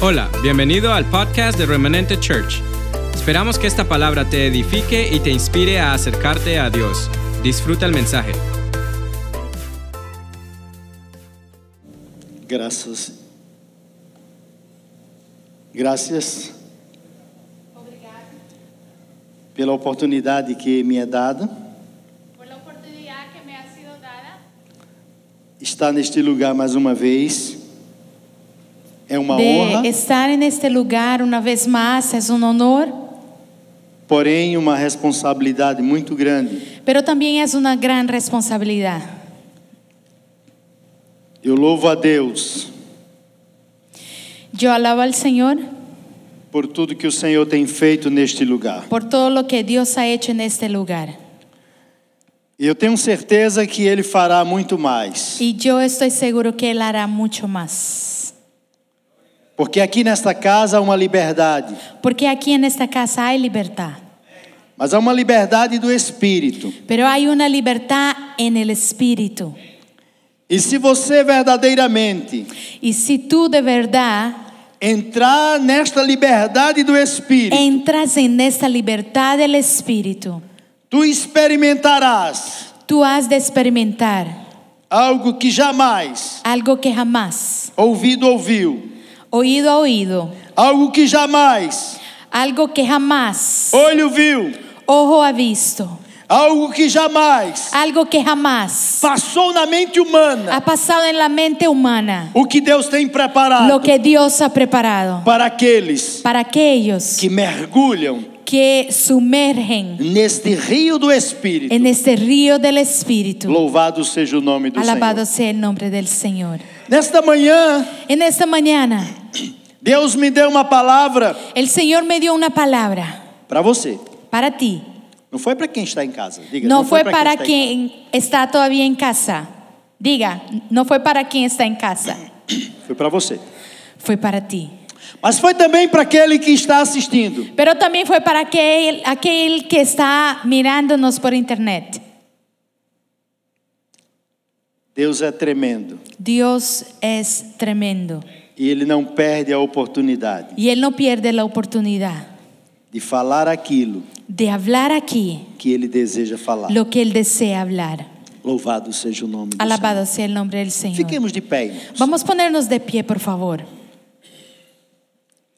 Hola, bienvenido al podcast de Remanente Church. Esperamos que esta palabra te edifique y te inspire a acercarte a Dios. Disfruta el mensaje. Graças. Graças Obrigado pela oportunidade que me é dada por la oportunidad que me ha sido dada estar neste lugar mais uma vez. É uma honra, de estar en este lugar una vez más. Es un honor, porém uma responsabilidade muito grande. pero también es una gran responsabilidad. Eu louvo a Deus Yo alabo al Señor por tudo que o Senhor tem feito neste lugar. por todo lo que Dios ha hecho en este lugar. E eu tenho certeza que Ele fará muito mais. Y yo estoy seguro que Él hará mucho más. Porque aqui nesta casa há uma liberdade, Porque aquí en esta casa hay libertad, mas há uma liberdade do espírito. pero hay una libertad en el espíritu. E se você verdadeiramente Y si tú de verdad entrar nesta liberdade do espírito, entras en esta libertad del espíritu, Tu experimentarás tú has de experimentar algo que jamais algo que jamás ouvido ouviu, oído a oído, algo que jamais algo que jamás olho viu, ojo ha visto, algo que jamais algo que jamás passou na mente humana. ha pasado en la mente humana, O que Deus tem preparado lo que Dios ha preparado para aqueles para aquellos que mergulham que sumergen neste rio do Espírito. en este río del Espíritu. Louvado seja o nome do Alabado Senhor. sea el nombre del Señor. Nesta manhã, En esta mañana, Deus me deu uma palavra el Señor me dio una palabra para você. para ti. Não foi para quem está em casa. Diga, No fue pra para está em quien está todavía en casa. Diga, no fue para quien está en casa. casa. Foi para você. Fue para ti. Mas foi também para aquele que está assistindo. Pero también fue para aquel, aquel que está mirándonos por internet. Deus é tremendo Dios es tremendo e ele não perde a oportunidade y Él no pierde la oportunidad de falar aquilo de hablar aquí que ele deseja falar. lo que Él desea hablar. Louvado seja o nome do Alabado sea el nombre del Senhor. Señor. Fiquemos de pé. irmãos. Vamos a ponernos de pie, por favor.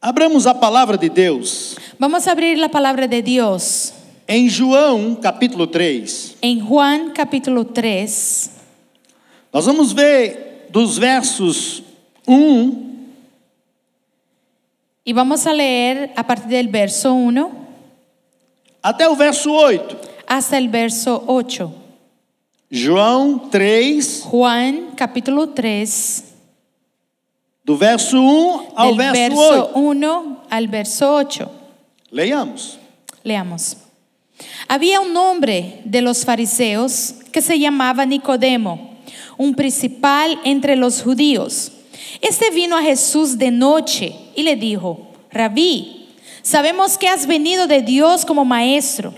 Abramos a palavra de Deus Vamos a abrir la palabra de Dios em João, capítulo 3. en Juan capítulo 3. Nós vamos ver dos versos 1 Y vamos a leer a partir del verso 1 até o verso 8. hasta el verso 8. João 3, Juan capítulo 3, do verso 1 ao del verso, verso 8. 1 al verso 8. Leiamos. Leamos. Había un hombre de los fariseos que se llamaba Nicodemo, un principal entre los judíos. Este vino a Jesús de noche y le dijo, Rabí, sabemos que has venido de Dios como maestro,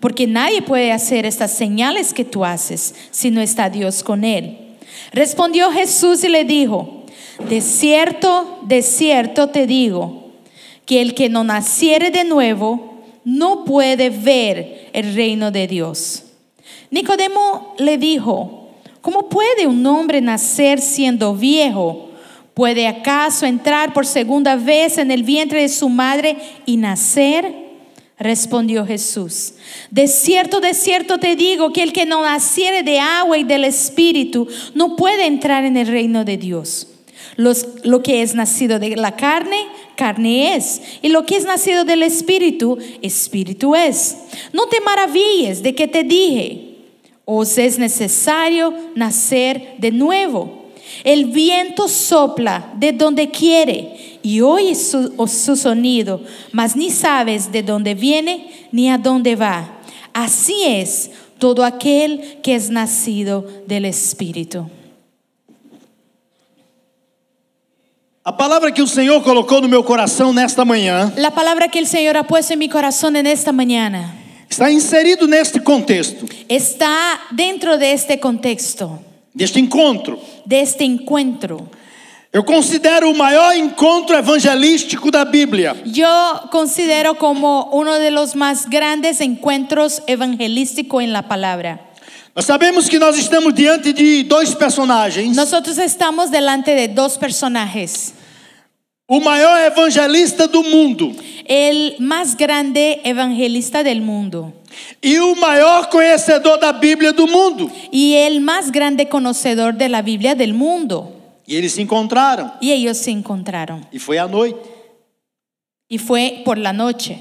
porque nadie puede hacer estas señales que tú haces si no está Dios con él. Respondió Jesús y le dijo, de cierto, de cierto te digo, que el que no naciere de nuevo no puede ver el reino de Dios. Nicodemo le dijo, ¿cómo puede un hombre nacer siendo viejo? ¿Puede acaso entrar por segunda vez en el vientre de su madre y nacer? Respondió Jesús, de cierto, de cierto te digo que el que no naciere de agua y del Espíritu no puede entrar en el reino de Dios. Los- lo que es nacido de la carne, carne es, y lo que es nacido del Espíritu, Espíritu es. No te maravilles de que te dije, os es necesario nacer de nuevo. El viento sopla de donde quiere y oyes su, o su sonido, mas ni sabes de dónde viene ni a dónde va. Así es todo aquel que es nacido del Espíritu. A palavra que o Senhor colocou no meu coração nesta manhã La palabra que el Señor ha puesto en mi corazón en esta mañana está inserido neste contexto, está dentro de este contexto, deste encontro. de este encuentro. Eu considero o maior encontro evangelístico da Bíblia. Yo considero como uno de los más grandes encuentros evangelísticos en la palabra. Nós sabemos que nós estamos diante de dois personagens. Nosotros estamos delante de dos personajes. O maior evangelista do mundo El más grande evangelista del mundo e o maior conhecedor da Bíblia do mundo. y el más grande conocedor de la Biblia del mundo. E eles se encontraram. Y ellos se encontraron. E foi à noite. Y fue por la noche.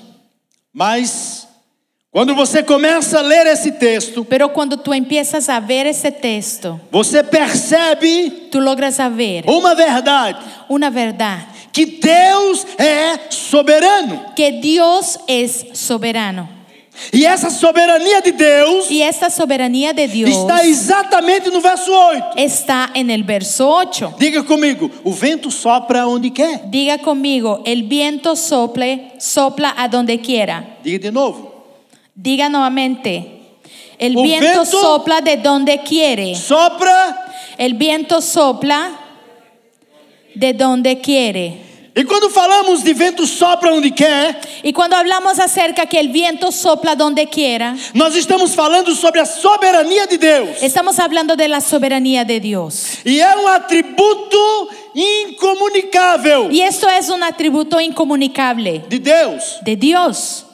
Mas quando você começa a ler esse texto, Pero cuando tú empiezas a ver ese texto, você percebe tú logras saber uma verdade: una verdad, que Deus é soberano. que Dios es soberano. E essa soberania de Deus Y esta soberanía de Dios está exatamente no verso 8. está en el verso 8. Diga comigo: o vento sopra onde quer. Diga conmigo, el viento sople, sopla a donde quiera. Diga de novo: Diga nuevamente, el Un viento, viento- sopla de donde quiere. sopra. El viento sopla de donde quiere. E quando falamos de vento sopra onde quer, Y cuando hablamos acerca que el viento sopla donde quiera, nós estamos falando sobre a soberania de Deus. estamos hablando de la soberanía de Dios. E é um atributo incomunicável Y esto es un atributo incomunicable de Deus. de Dios.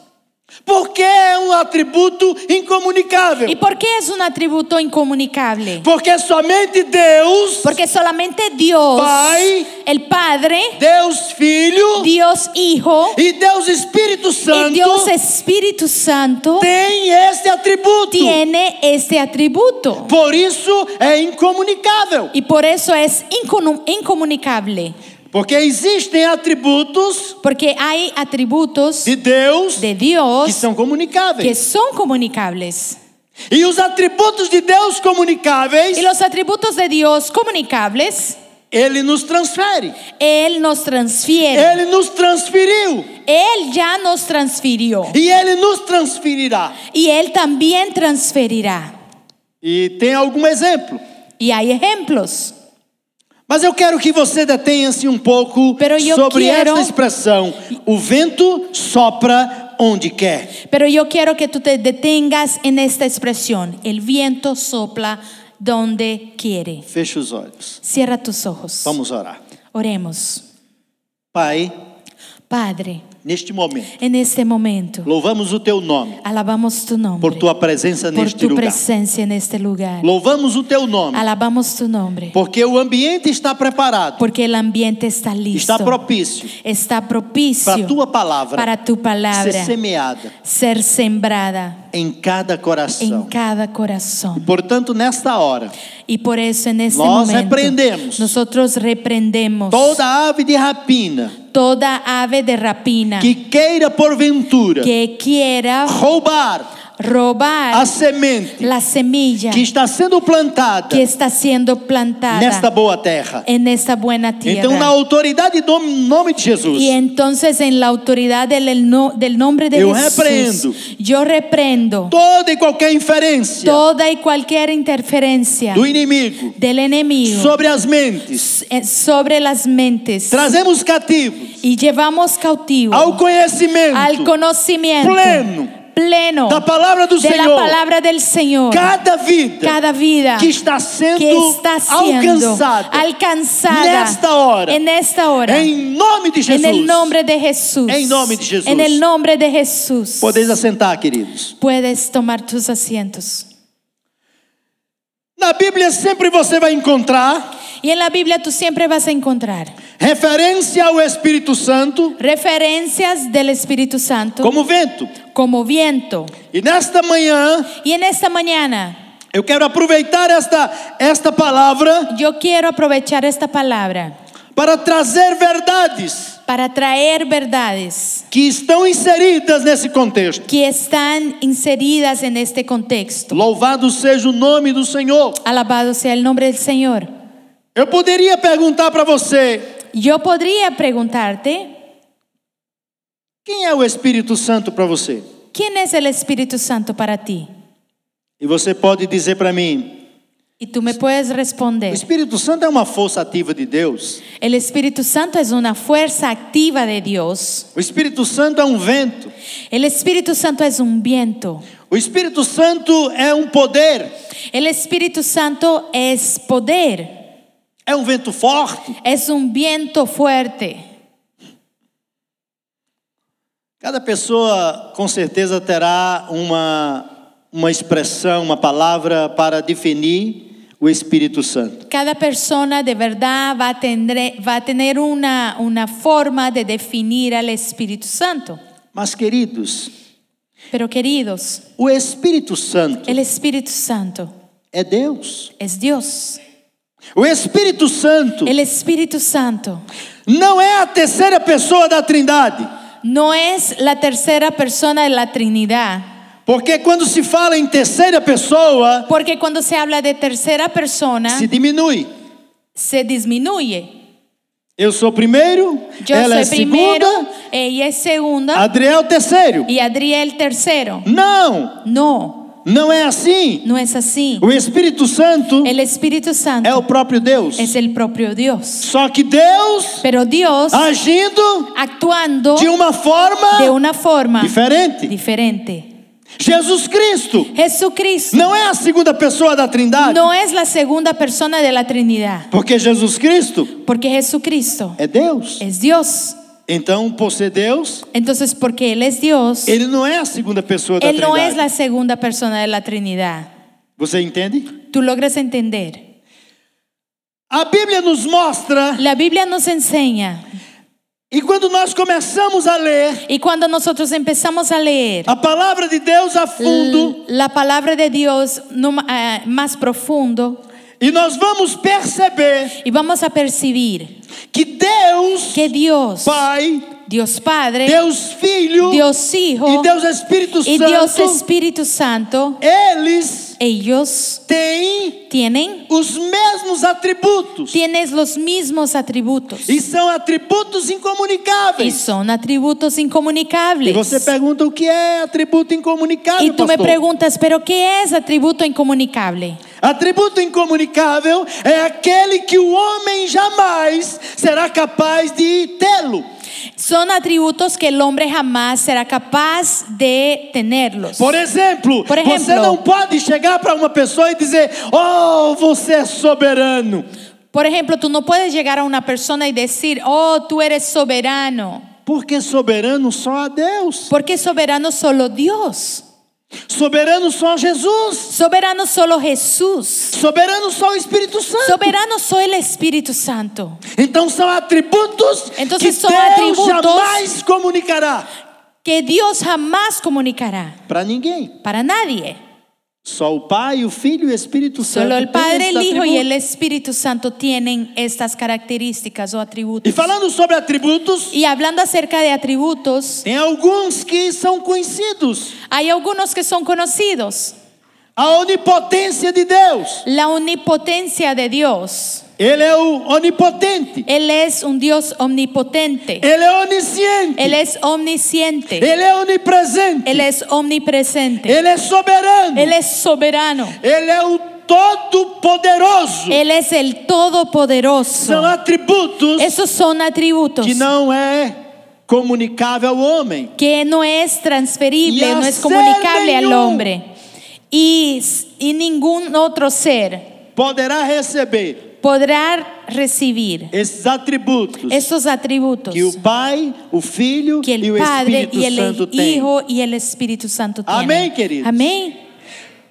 Por que é um atributo incomunicável? ¿Y por qué es un atributo incomunicable? Porque somente Deus, Porque solamente Dios, Pai, el Padre, Deus Filho Dios Hijo e Deus Espírito y Santo Dios Espíritu Santo tem esse atributo. tiene este atributo. Por isso é incomunicável. Y por eso es incomu- incomunicable. Porque existem atributos Porque hay atributos de Deus de que Dios são que comunicáveis. son comunicables. E os atributos de Deus comunicáveis, Y los atributos de Dios comunicables, ele nos transfere. Él nos transfiere. Ele nos transferiu Él ya nos transfirió. e ele nos transferirá. Y Él también transferirá. E tem algum exemplo. Y hay ejemplos. Mas eu quero que você detenha-se um pouco Pero eu sobre quero- esta expressão. O vento sopra onde quer. Pero yo quiero que tú te detengas en esta expresión. El viento sopla donde quiere. Feche os olhos. Cierra tus ojos. Vamos orar. Oremos. Pai, Padre, neste momento, en este momento, louvamos o teu nome alabamos tu nombre. por tua presença por neste tu este lugar. presencia en este lugar. Louvamos o teu nome Alabamos tu nombre. porque o ambiente está preparado, Porque el ambiente está listo. está propício está para propicio a tua palavra para tu ser palabra semeada ser sembrada em cada en coração. cada corazón. Portanto, nesta hora, Y por eso en este Nós momento repreendemos nosotros reprendemos toda ave de rapina toda ave de rapina que queira porventura que quiera roubar robar a semente la semilla que está sendo plantada que está siendo plantada nesta boa terra. en esta buena tierra. Então, na autoridade do nome de Jesus, y entonces en la autoridad del, el no- del nombre de Eu Jesús, repreendo yo reprendo toda e qualquer inferência toda y cualquier interferencia do inimigo del enemigo sobre as mentes, s- eh, sobre las mentes trazemos cativo y llevamos cautivo ao al conhecimento conocimiento pleno pleno da palavra do de la Senhor palabra del Señor cada vida cada vida que está sendo que está siendo alcançada alcanzada nesta hora. en esta hora em nome de en Jesus. el nombre de Jesús En nombre de Jesús. en el nombre de Jesús Podeis assentar, queridos. puedes tomar tus asientos Na Bíblia sempre você vai encontrar y en la Biblia tú siempre vas a encontrar referência ao Espírito Santo referencias del Espíritu Santo como vento. como viento. E nesta manhã Y en esta mañana eu quero aproveitar esta, esta palavra yo quiero aprovechar esta palabra para trazer verdades para traer verdades que estão inseridas nesse contexto. que están inseridas en este contexto. Louvado seja o nome do Senhor. Alabado sea el nombre del Señor. Eu poderia perguntar para você Yo podría preguntarte, quem é o Espírito Santo para você? ¿quién es el Espíritu Santo para ti? E você pode dizer para mim: Y tú me puedes O responder. Espírito Santo é uma força ativa de Deus. El Espíritu Santo es una fuerza activa de Dios. O Espírito Santo é um vento. El Espíritu Santo es un viento. O Espírito Santo é um poder. El Espíritu Santo es poder. É um vento forte. Es un viento fuerte. Cada pessoa com certeza terá uma, uma expressão, uma palavra para definir o Espírito Santo. Cada persona de verdad va a, tendre- va a tener una, una forma de definir al Espíritu Santo. Mas, queridos, Pero queridos, o Espírito Santo el Espíritu Santo é Deus. es Dios. O Espírito Santo El Espíritu Santo não é a terceira pessoa da Trindade. no es la tercera persona de la Trinidad. Porque quando se fala em terceira pessoa, Porque cuando se habla de tercera persona, se diminui. se disminuye. Eu sou primeiro, Yo ela soy é primero, segunda, ella es segunda Adriel é terceiro. y Adriel tercero. Não, No, não é assim. no es así. O Espírito Santo El Espíritu é o Santo próprio Deus. es el propio Dios. Só que Deus Pero Dios Ah, agindo actuando de uma de forma una forma diferente. diferente. Jesus Cristo Jesucristo não é a segunda pessoa da Trindade, no es la segunda persona de la Trinidad, porque Jesus Cristo porque Jesucristo é Deus. es Dios. Então, por ser Deus, Entonces, porque Él es Dios, ele não é a segunda pessoa da Él no es la Trindade. segunda persona de la Trinidad. Você entende? Tú logras entender. A Bíblia nos mostra, La Biblia nos enseña, e quando nós começamos a ler y cuando nosotros empezamos a leer a palavra de Deus a fundo, l- la palabra de Dios no- ah, más profundo, e nós vamos perceber y vamos a percibir que Deus, que Dios, Pai, Dios Padre, Deus Filho Dios Hijo e Deus Espírito y Dios Santo, Espíritu Santo, eles ellos têm tienen, os mesmos atributos tienes los mismos atributos e são atributos y incomunicáveis. son atributos E incomunicables. você pergunta o que é atributo incomunicável, Y tú me pastor? preguntas, pero ¿qué es atributo incomunicable? Atributo incomunicável é aquele que o homem jamais será capaz de tê-lo, Son atributos que el hombre jamás será capaz de tenerlos. Por e- exemplo, Por exemplo. você não pode chegar para uma pessoa e dizer: Oh, você é soberano. Por ejemplo, tú no puedes llegar a una persona y decir, oh, tú eres soberano, Porque soberano só há Deus, porque es soberano solo Dios, soberano só Jesus, soberano solo Jesús, soberano só o Espírito Santo. soberano soy el Espíritu Santo. Então são atributos Então, que são Deus atributos- jamais comunicará Que Dios jamás comunicará para ninguém. para nadie. Só o Pai, o Filho e o Espírito Santo. Solo el têm Padre, esses el Hijo y atributos. el Espíritu Santo tienen estas características o E atributos. falando sobre atributos, Y hablando acerca de atributos, tem alguns que são conhecidos. hay algunos que son conocidos. A onipotência de Deus. La omnipotencia de Dios. Ele é o onipotente. Él es un Dios omnipotente. Ele é onisciente. Él es omnisciente. Ele é onipresente. Él es omnipresente. Ele é soberano. Él es soberano. Ele é o todo-poderoso. Él es el São todopoderoso. atributos Esos son atributos que não é comunicável ao homem. que no es transferible, Y a no es ser comunicable al nenhum. hombre. Y, s- y ningún otro ser Poderá receber podrá recibir esses atributos estos atributos que o Pai, o Filho que e el o Padre Espírito y el Santo têm. Hijo y el Espíritu Santo tienen. Amén, queridos. Amén.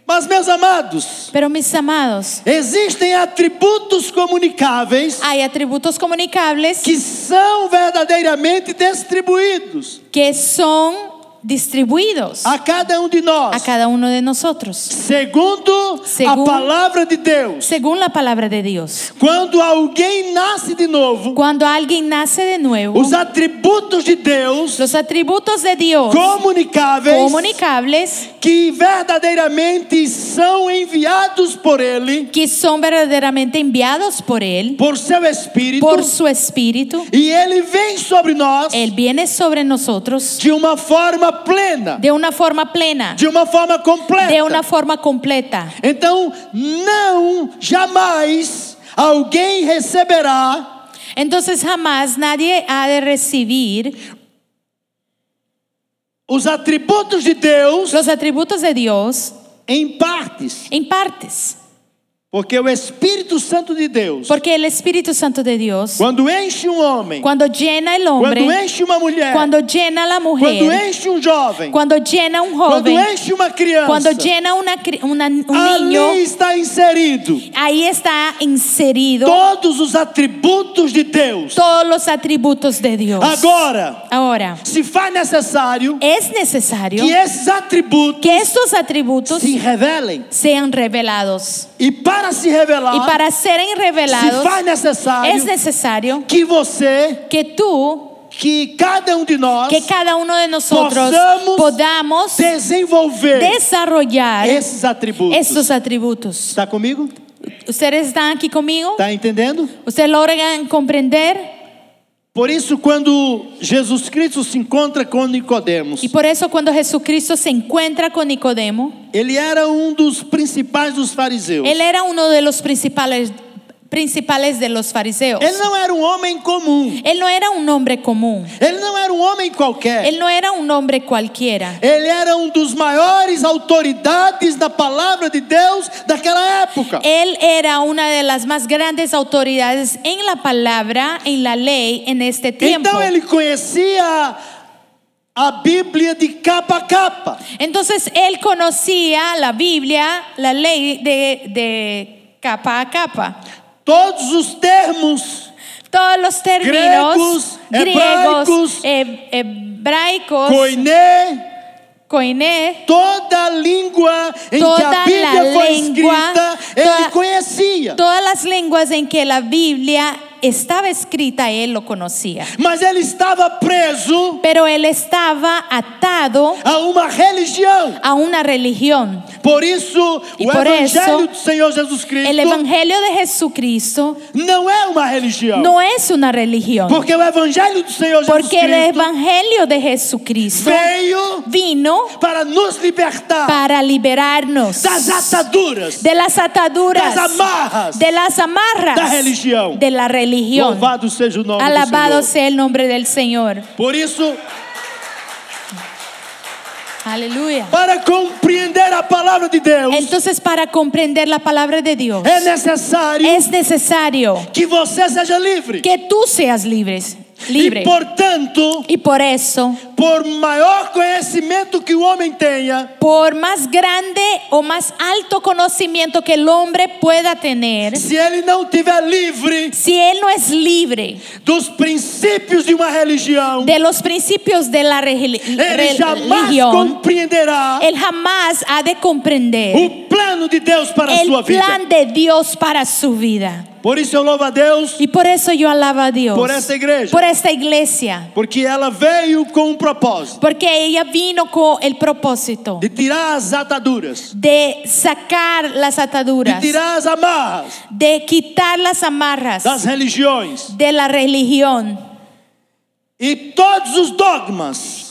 Mas, meus amados, Pero mis amados, existem atributos comunicáveis hay atributos comunicables que são verdadeiramente distribuídos que son distribuidos a cada um de a nós. cada uno de nosotros, Segundo, Segundo- a palavra de Deus, según la palabra de Dios. quando alguém nasce de novo, Cuando alguien nace de nuevo, os atributos de Deus los atributos de Dios comunicáveis comunicables que verdadeiramente são enviados por Ele, que son verdaderamente enviados por Él, por seu Espírito, por su Espíritu, e Ele vem sobre nós Él viene sobre nosotros de uma forma plena, de una forma plena, de uma forma completa. de una forma completa. Então, não jamais alguém receberá Entonces jamás nadie ha de recibir os atributos de Deus los atributos de Dios em partes, en partes, porque o Espírito Santo de Deus, porque el Espíritu Santo de Dios, quando enche um homem, cuando llena el quando hombre, enche uma mulher, cuando llena la quando mujer, enche um jovem, cuando llena un quando joven, enche uma criança, cuando llena una cri- una- um un niño, ali está inserido ahí está inserido todos os atributos de Deus. todos los atributos de Dios. Agora, Ahora, se faz necessário es necesario que esses atributos que estos atributos se revelem. sean revelados. E para se revelar, Y para serán se revelados, faz necessário es necesario que você, que tú, que cada um de nós, que cada uno de nosotros Possamos podamos desenvolver desarrollar esses atributos. estos atributos. Está comigo? ¿Ustedes están aquí conmigo? Está entendendo? ¿Ustedes logran comprender? Por isso, quando Jesus Cristo se encontra com Nicodemos, Y por eso cuando Jesucristo se encuentra con Nicodemo, ele era um dos principais dos fariseus. él era uno de los principales, principales de los fariseos. Ele não era um homem comum. Él no era un hombre común. Ele não era um homem qualquer. Él no era un hombre cualquiera. Ele era um dos maiores autoridades da palavra de Deus daquela época. Él era una de las más grandes autoridades en la palabra, en la lei, en este tiempo. Então ele conhecia a Bíblia de capa a capa. Entonces él conocía la Biblia, la ley de, de capa a capa. Todos os termos Todos los términos Griegos, griegos, hebraicos, he- hebraicos, Koiné, koiné, toda a língua em que Toda a Bíblia la foi língua, escrita, toda- ele conhecia. todas las lenguas en que la Biblia estaba escrita, él lo conocía. Mas ele estava preso Pero él estaba atado a uma religião. a una religión. Por isso, E o por Evangelho isso, é do Senhor Jesus El Cristo Evangelio de Jesucristo não é uma religião. no es una religión, Porque o Evangelho do Senhor Jesus porque é el Cristo Evangelio de Jesucristo veio vino para nos libertar para liberarnos das ataduras, de las ataduras, das amarras de las amarras da religião. de la religión. Louvado seja o nome Alabado do Senhor. sea el nombre del Señor. Por isso, Aleluya. para compreender a palavra de Deus, Entonces, para comprender la palabra de Dios, é necessário es necesario que você seja livre. que é tú seas libre. libre. E, portanto, y por eso por maior conhecimento que o homem tenha, Por más grande o más alto conocimiento que el hombre pueda tener, se ele não tiver livre si él no es libre dos princípios de uma religião, de los principios de la regili- ele rel- jamais religión, compreenderá él jamás ha de comprender o Um plano de Deus para a sua el vida. plan de Dios para su vida. Por isso eu louvo a Deus Y por eso yo alabo a Dios, por essa igreja, por esta iglesia, porque ela veio com um propósito porque ella vino con el propósito de tirar as ataduras, de sacar las de ataduras, tirar as amarras de quitar las amarras das religiões de la religión. e todos os dogmas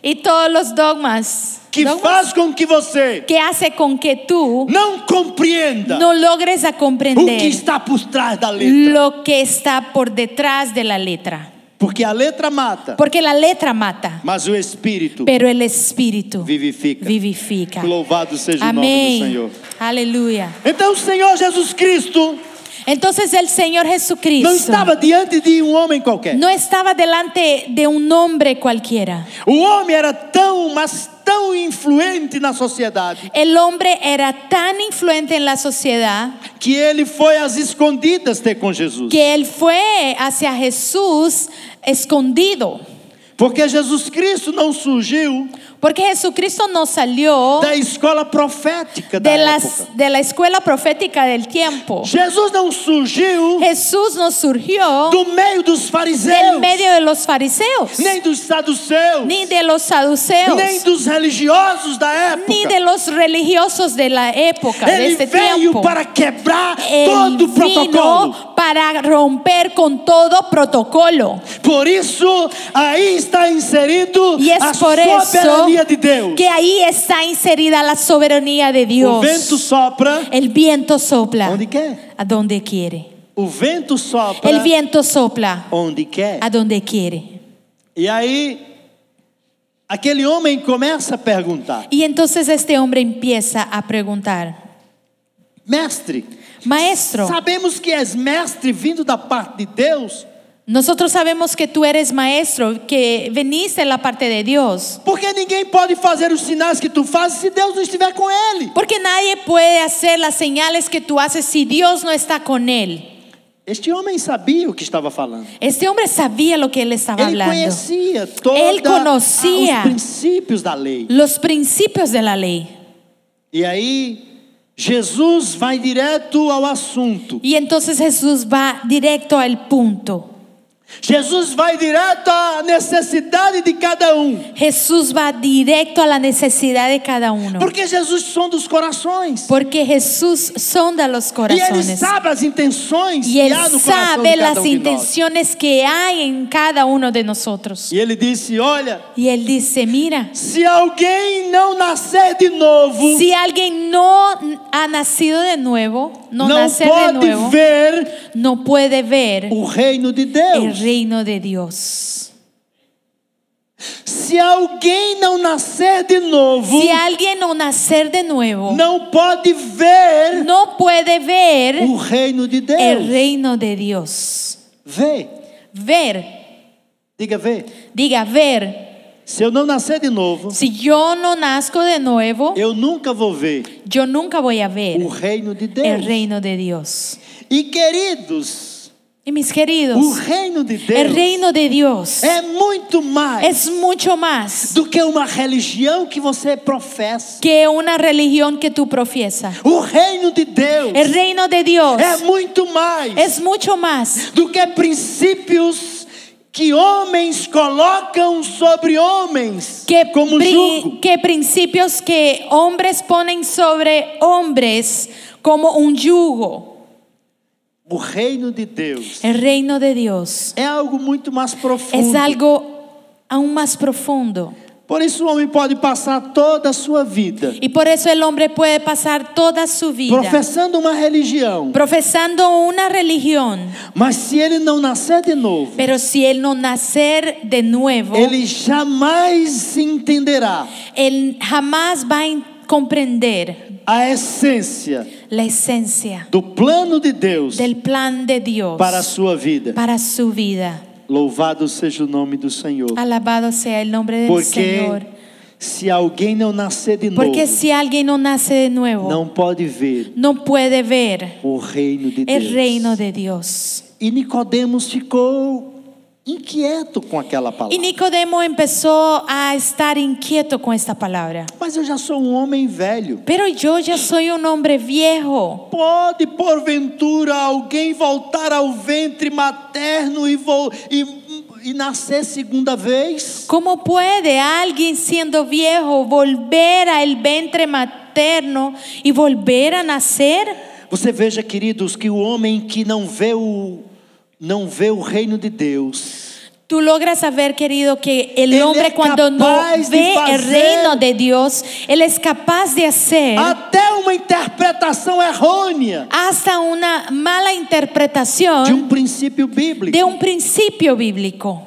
y todos los dogmas, que dogmas faz com que você que hace con que tú não compreenda no logres a o que comprender está por trás da letra, lo que está por detrás de la letra, porque a letra mata, porque la letra mata, mas o espírito pero el espíritu vivifica. vivifica. Louvado seja o nome do Amén. Senhor. Aleluya. Então o Senhor Jesus Cristo Entonces el Señor não Jesucristo estava diante de um homem qualquer. no estaba delante de un hombre cualquiera. O homem era tão, mas tão influente na sociedade El hombre era tan influente en la sociedad que ele foi às escondidas ter com Jesus. que él fue hacia Jesús escondido. Porque Jesus Cristo não surgiu Porque Jesucristo no salió da escola profética da de, época. las- de la escuela profética del tiempo. Jesus não surgiu Jesús no surgió do meio dos del fariseus, medio de los fariseos, nem dos saduceus, ni de los saduceos, nem dos religiosos da época. ni de los religiosos de la época, de Ele este veio tiempo. para quebrar Él todo o protocolo. vino para romper con todo protocolo. Por isso, aí está inserido Y es a é por eso soberania de Deus. que ahí está inserida la soberanía de O vento Dios. sopra El viento sopla onde quer. a donde quiere. O vento sopra El viento sopla onde quer. a donde quiere. E aí, aquele homem começa a perguntar: Y entonces este hombre empieza a preguntar, Mestre, maestro, sabemos que és mestre vindo da parte de Deus, nosotros sabemos que tú eres maestro, que veniste en la parte de Dios, porque ninguém pode fazer os sinais que tu fazes se Deus não estiver com ele. porque nadie puede hacer las señales que tú haces si Dios no está con él. Este homem sabia o que estava falando. Este hombre sabía lo que él estaba Ele hablando, conhecia todos Ele conhecia. os princípios da lei. los principios de la ley. E aí, Jesus vai direto ao assunto. Y entonces Jesús va directo al punto. Jesus vai direto à necessidade de cada um. Jesús va directo a la necesidad de cada uno. Porque Jesus sonda os corações. Porque Jesús sonda los E Ele corazones. sabe as intenções Y que Él há no coração de sabe cada um las de nós. intenciones que hay en cada uno de nosotros. E Ele disse, olha, Y Él dice, mira, se alguém não nascer de novo, si alguien no ha nacido de nuevo, no, não nace de pode nuevo, ver no puede ver o reino de el Deus. reino de Dios. Se alguém não nascer de novo, Si alguien no nacer de nuevo, não pode ver no puede ver É o reino de Deus. el reino de Dios. Vê, Ver, diga vê. diga ver, Se eu não nascer de novo, si yo no nazco de nuevo, eu nunca vou ver yo nunca voy a o ver reino de Deus. el É reino de Dios. E queridos, Y mis queridos, o reino de Deus el É reino de Dios é muito mais es mucho más do que uma religião que você professa. que una religión que tú profiesas. O reino de Deus El É reino É de Dios é muito mais es mucho más do que princípios que homens colocam sobre homens que, como pri- jugo. que principios que hombres ponen sobre hombres como un yugo. O reino de Deus El reino de Dios é algo muito mais profundo. es algo aún más profundo. Por isso o homem pode passar toda a sua vida Y por eso el hombre puede pasar toda su vida professando uma religião, profesando una religión, mas se ele não nascer de novo, pero si él no nacer de nuevo, ele jamais se entenderá él jamás va a en- comprender a essência la esencia do plano de Deus del plan de Dios para a sua vida. para su vida. Louvado seja o nome do Senhor. Alabado sea el nombre del Porque Señor. se alguém não nascer de novo, Porque si alguien no nace de nuevo, não pode ver no puede ver o reino de Deus. el É reino de Dios. E Nicodemos ficou inquieto com aquela palavra. Y Nicodemo empezó a estar inquieto con esta palabra. Mas eu já sou um homem velho. Pero yo ya soy un hombre viejo. Pode, porventura, alguém voltar ao ventre materno e, vol- e- e nascer segunda vez? ¿Cómo puede alguien siendo viejo volver al vientre materno y volver a nacer? Você veja, queridos, que o homem que não vê o, não vê o reino de Deus, Tú logras saber, querido, que el Él hombre es cuando no capaz de ve el hacer- reino de Dios, él es capaz de hacer até uma interpretação errônea hasta una mala de um interpretación princípio bíblico. de un principio bíblico.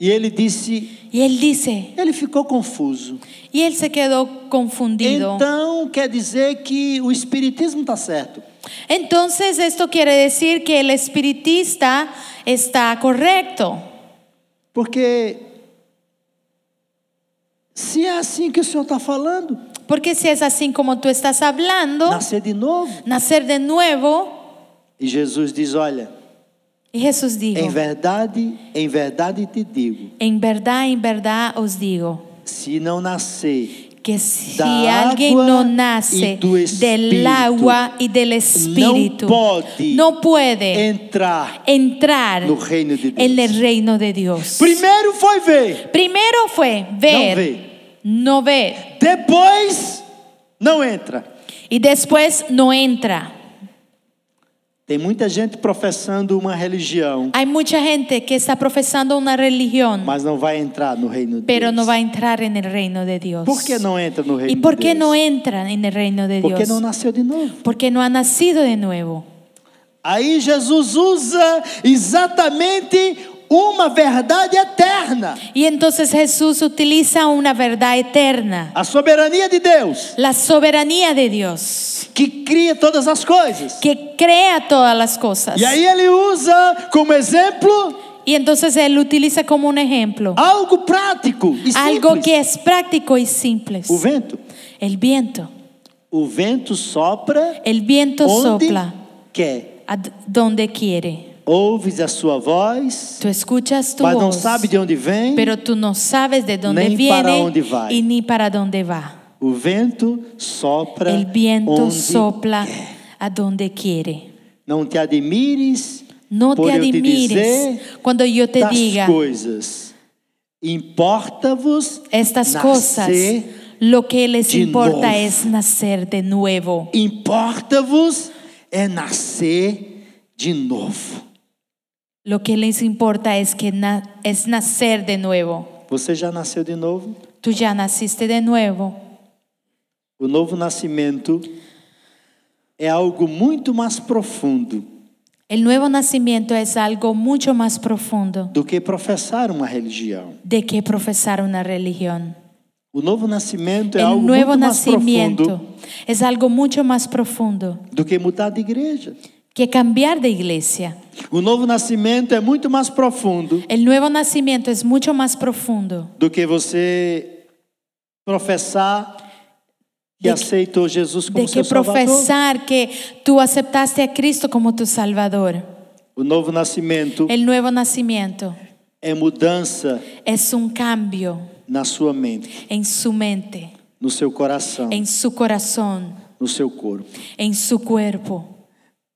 E ele disse, Y él dice, ele ficou confuso. y él se quedó confundido. Então quer dizer que o espiritismo está certo. Entonces esto quiere decir que el espiritista está correcto. Porque se é assim que o senhor está falando, Porque si es así como tú estás hablando, nascer de novo. nacer de nuevo, Então, E Jesus diz: Olha, y Jesús dijo, em verdade, em verdade te digo, en verdad, en verdad os digo, se não nascer que si Da alguien agua no y nace tu del espíritu. agua y del espíritu, pode no puede entrar entrar no reino de Deus. en el reino de Dios. Primeiro foi ver, Primero fue ver, No ve. no ver, depois não entra. y después no entra. Tem muita gente professando uma religião, Hay mucha gente que está profesando una religión, mas não vai entrar no reino de pero Deus. no va a entrar en el reino de Dios. Por que não entra no Pues. reino ¿Y por de qué Deus? no entra en el reino de Porque Dios? não nasceu de novo. Porque no ha nacido de nuevo. Aí Jesus usa exatamente uma verdade eterna. Y entonces Jesús utiliza una verdad eterna, A soberania de Deus, la soberanía de Dios, que cria todas as coisas. que crea todas las cosas. E aí ele usa como exemplo Y entonces Él utiliza como un ejemplo algo prático e algo Ah, simples. que é es práctico y simple. O vento. El viento. O vento sopra El viento onde sopla quer. a d- donde quiere. Ouves a sua voz, Tú escuchas tu mas não voz, sabe de onde vem. pero tú no sabes de dónde Nem para viene onde vai. y ni para dónde va. O vento sopra El viento onde sopla quer. a donde quiere. Não te admires No por te eu te admires dizer cuando yo te das diga coisas. Importa-vos estas nascer, cosas. Lo que les de importa novo. es nacer de nuevo. Importa-vos é nascer de novo. Lo que les importa es que na- es nacer de nuevo. Você já nasceu de novo? Tú ya naciste de nuevo. O novo nascimento é algo muito mais profundo El nuevo nacimiento es algo mucho más profundo do que professar uma religião. de que profesar una religión. O novo nascimento é El Este algo nuevo muito mais nacimiento profundo es algo mucho más profundo do que mudar de igreja. que cambiar de iglesia. O novo nascimento é muito mais profundo El nuevo nacimiento es mucho más profundo do que você professar que De que- aceitou Jesus como de que seu Salvador. profesar que tú aceptaste a Cristo como tu Salvador. O novo nascimento El nuevo nacimiento é mudança es un cambio na sua mente, en su mente, no seu coração, en su corazón, no seu corpo. en su cuerpo.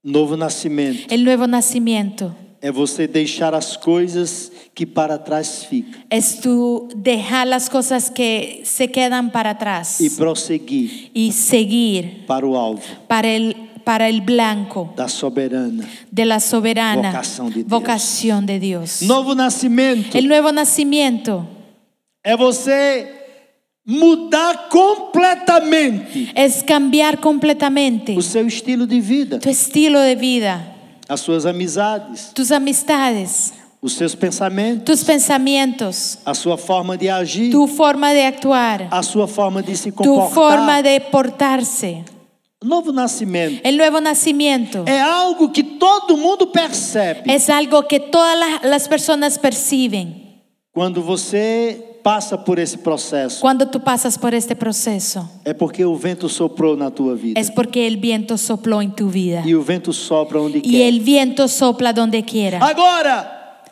Novo nascimento El nuevo nacimiento é você deixar as coisas que para trás ficam es tú dejar las cosas que se quedan para atrás e prosseguir y seguir para o alvo para el, para el blanco da soberana. de la soberana Vocación de Dios. vocación de Dios. Novo nascimento El nuevo nacimiento é você mudar completamente es cambiar completamente o seu estilo de vida, tu estilo de vida, as suas amizades, tus amistades, os seus pensamentos, tus pensamientos, a sua forma de agir, tu forma de actuar, a sua forma de se tu forma comportar. de portarse. Novo nascimento El nuevo nacimiento é algo que todo mundo percebe. es algo que todas las, las personas perciben Quando você passa por esse processo, cuando tú pasas por este proceso. é porque o vento soprou na tua vida. Es porque el viento sopló en tu vida E o vento sopra onde y quer. el viento sopla donde quiera. Agora,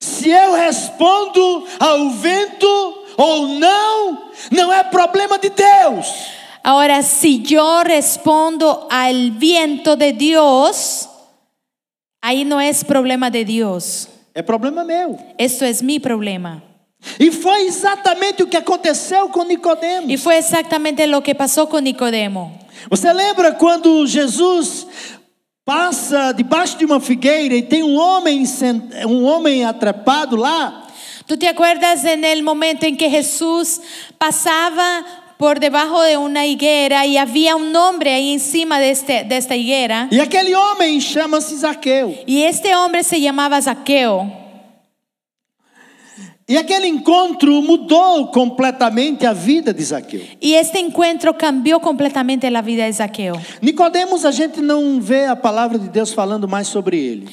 se eu respondo ao vento ou não, não é problema de Deus. Ahora, si yo respondo al viento de Dios, ahí no es problema de Dios. É problema meu. Esto es mi problema. E foi exatamente o que aconteceu com Nicodemos. Y fue exactamente lo que pasó con Nicodemo. Você lembra quando Jesus passa debaixo de uma figueira e tem um homem sent- um homem atrapado lá? ¿Tú te acuerdas en el momento en que Jesús pasaba por debajo de una higuera y había un hombre ahí encima de, este, de esta higuera? E aquele homem chama-se Zaqueu. Y este hombre se llamaba Zaqueo. E aquele encontro mudou completamente a vida de Zaqueu. Y este encuentro cambió completamente la vida de Zaqueo. Nicodemos, a gente não vê a palavra de Deus falando mais sobre ele.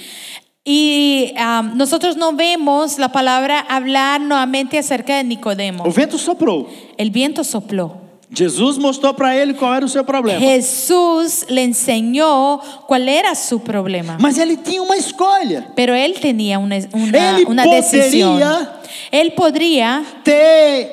Y am, nosotros no vemos la palabra hablar nuevamente acerca de Nicodemo. O vento soprou. El viento sopló. Jesus mostrou para ele qual era o seu problema. Jesús le enseñó cuál era su problema. Mas ele tinha uma escolha: Pero él tenía una, una, Él una podría- decisión. Él podría ter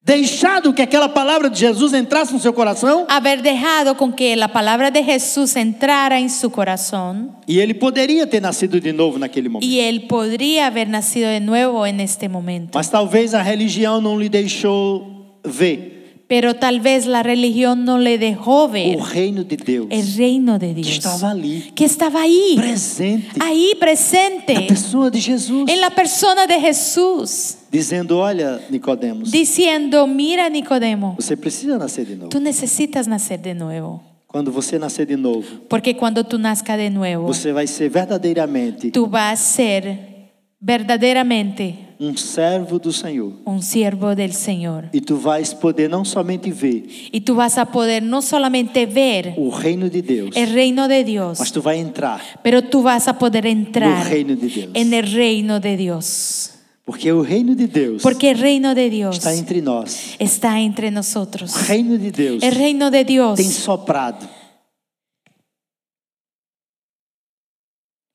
Deixado que aquela palavra de Jesus entrasse no seu coração, haber dejado con que la palabra de Jesús entrara en su corazón e ele poderia ter nascido de novo naquele momento. y él podría haber nacido de nuevo en este momento. Mas talvez a religião não lhe deixou ver Pero tal vez la religión no le dejó ver o reino de Deus el reino de que Dios estava ali, que estaba ahí, presente ahí na presente pessoa de Jesus, en la persona de Jesús, dizendo: Olha, Nicodemos, diciendo, mira Nicodemo, você precisa nascer de novo. tú necesitas nacer de nuevo, Quando você nascer de novo, porque cuando tú nazca de nuevo, você vai ser verdadeiramente tú vas a ser verdaderamente um servo do Senhor. un siervo del Señor. E tu vais poder não somente ver Y tú vas a poder no solamente ver o reino de Deus, el É reino de Dios, mas tu vai entrar pero tú vas a poder no entrar reino de Deus. en el reino de Dios. Porque o reino de Deus Porque el reino de Dios está entre nós. está entre O nosotros. reino de Deus El É reino de Dios. tem soprado.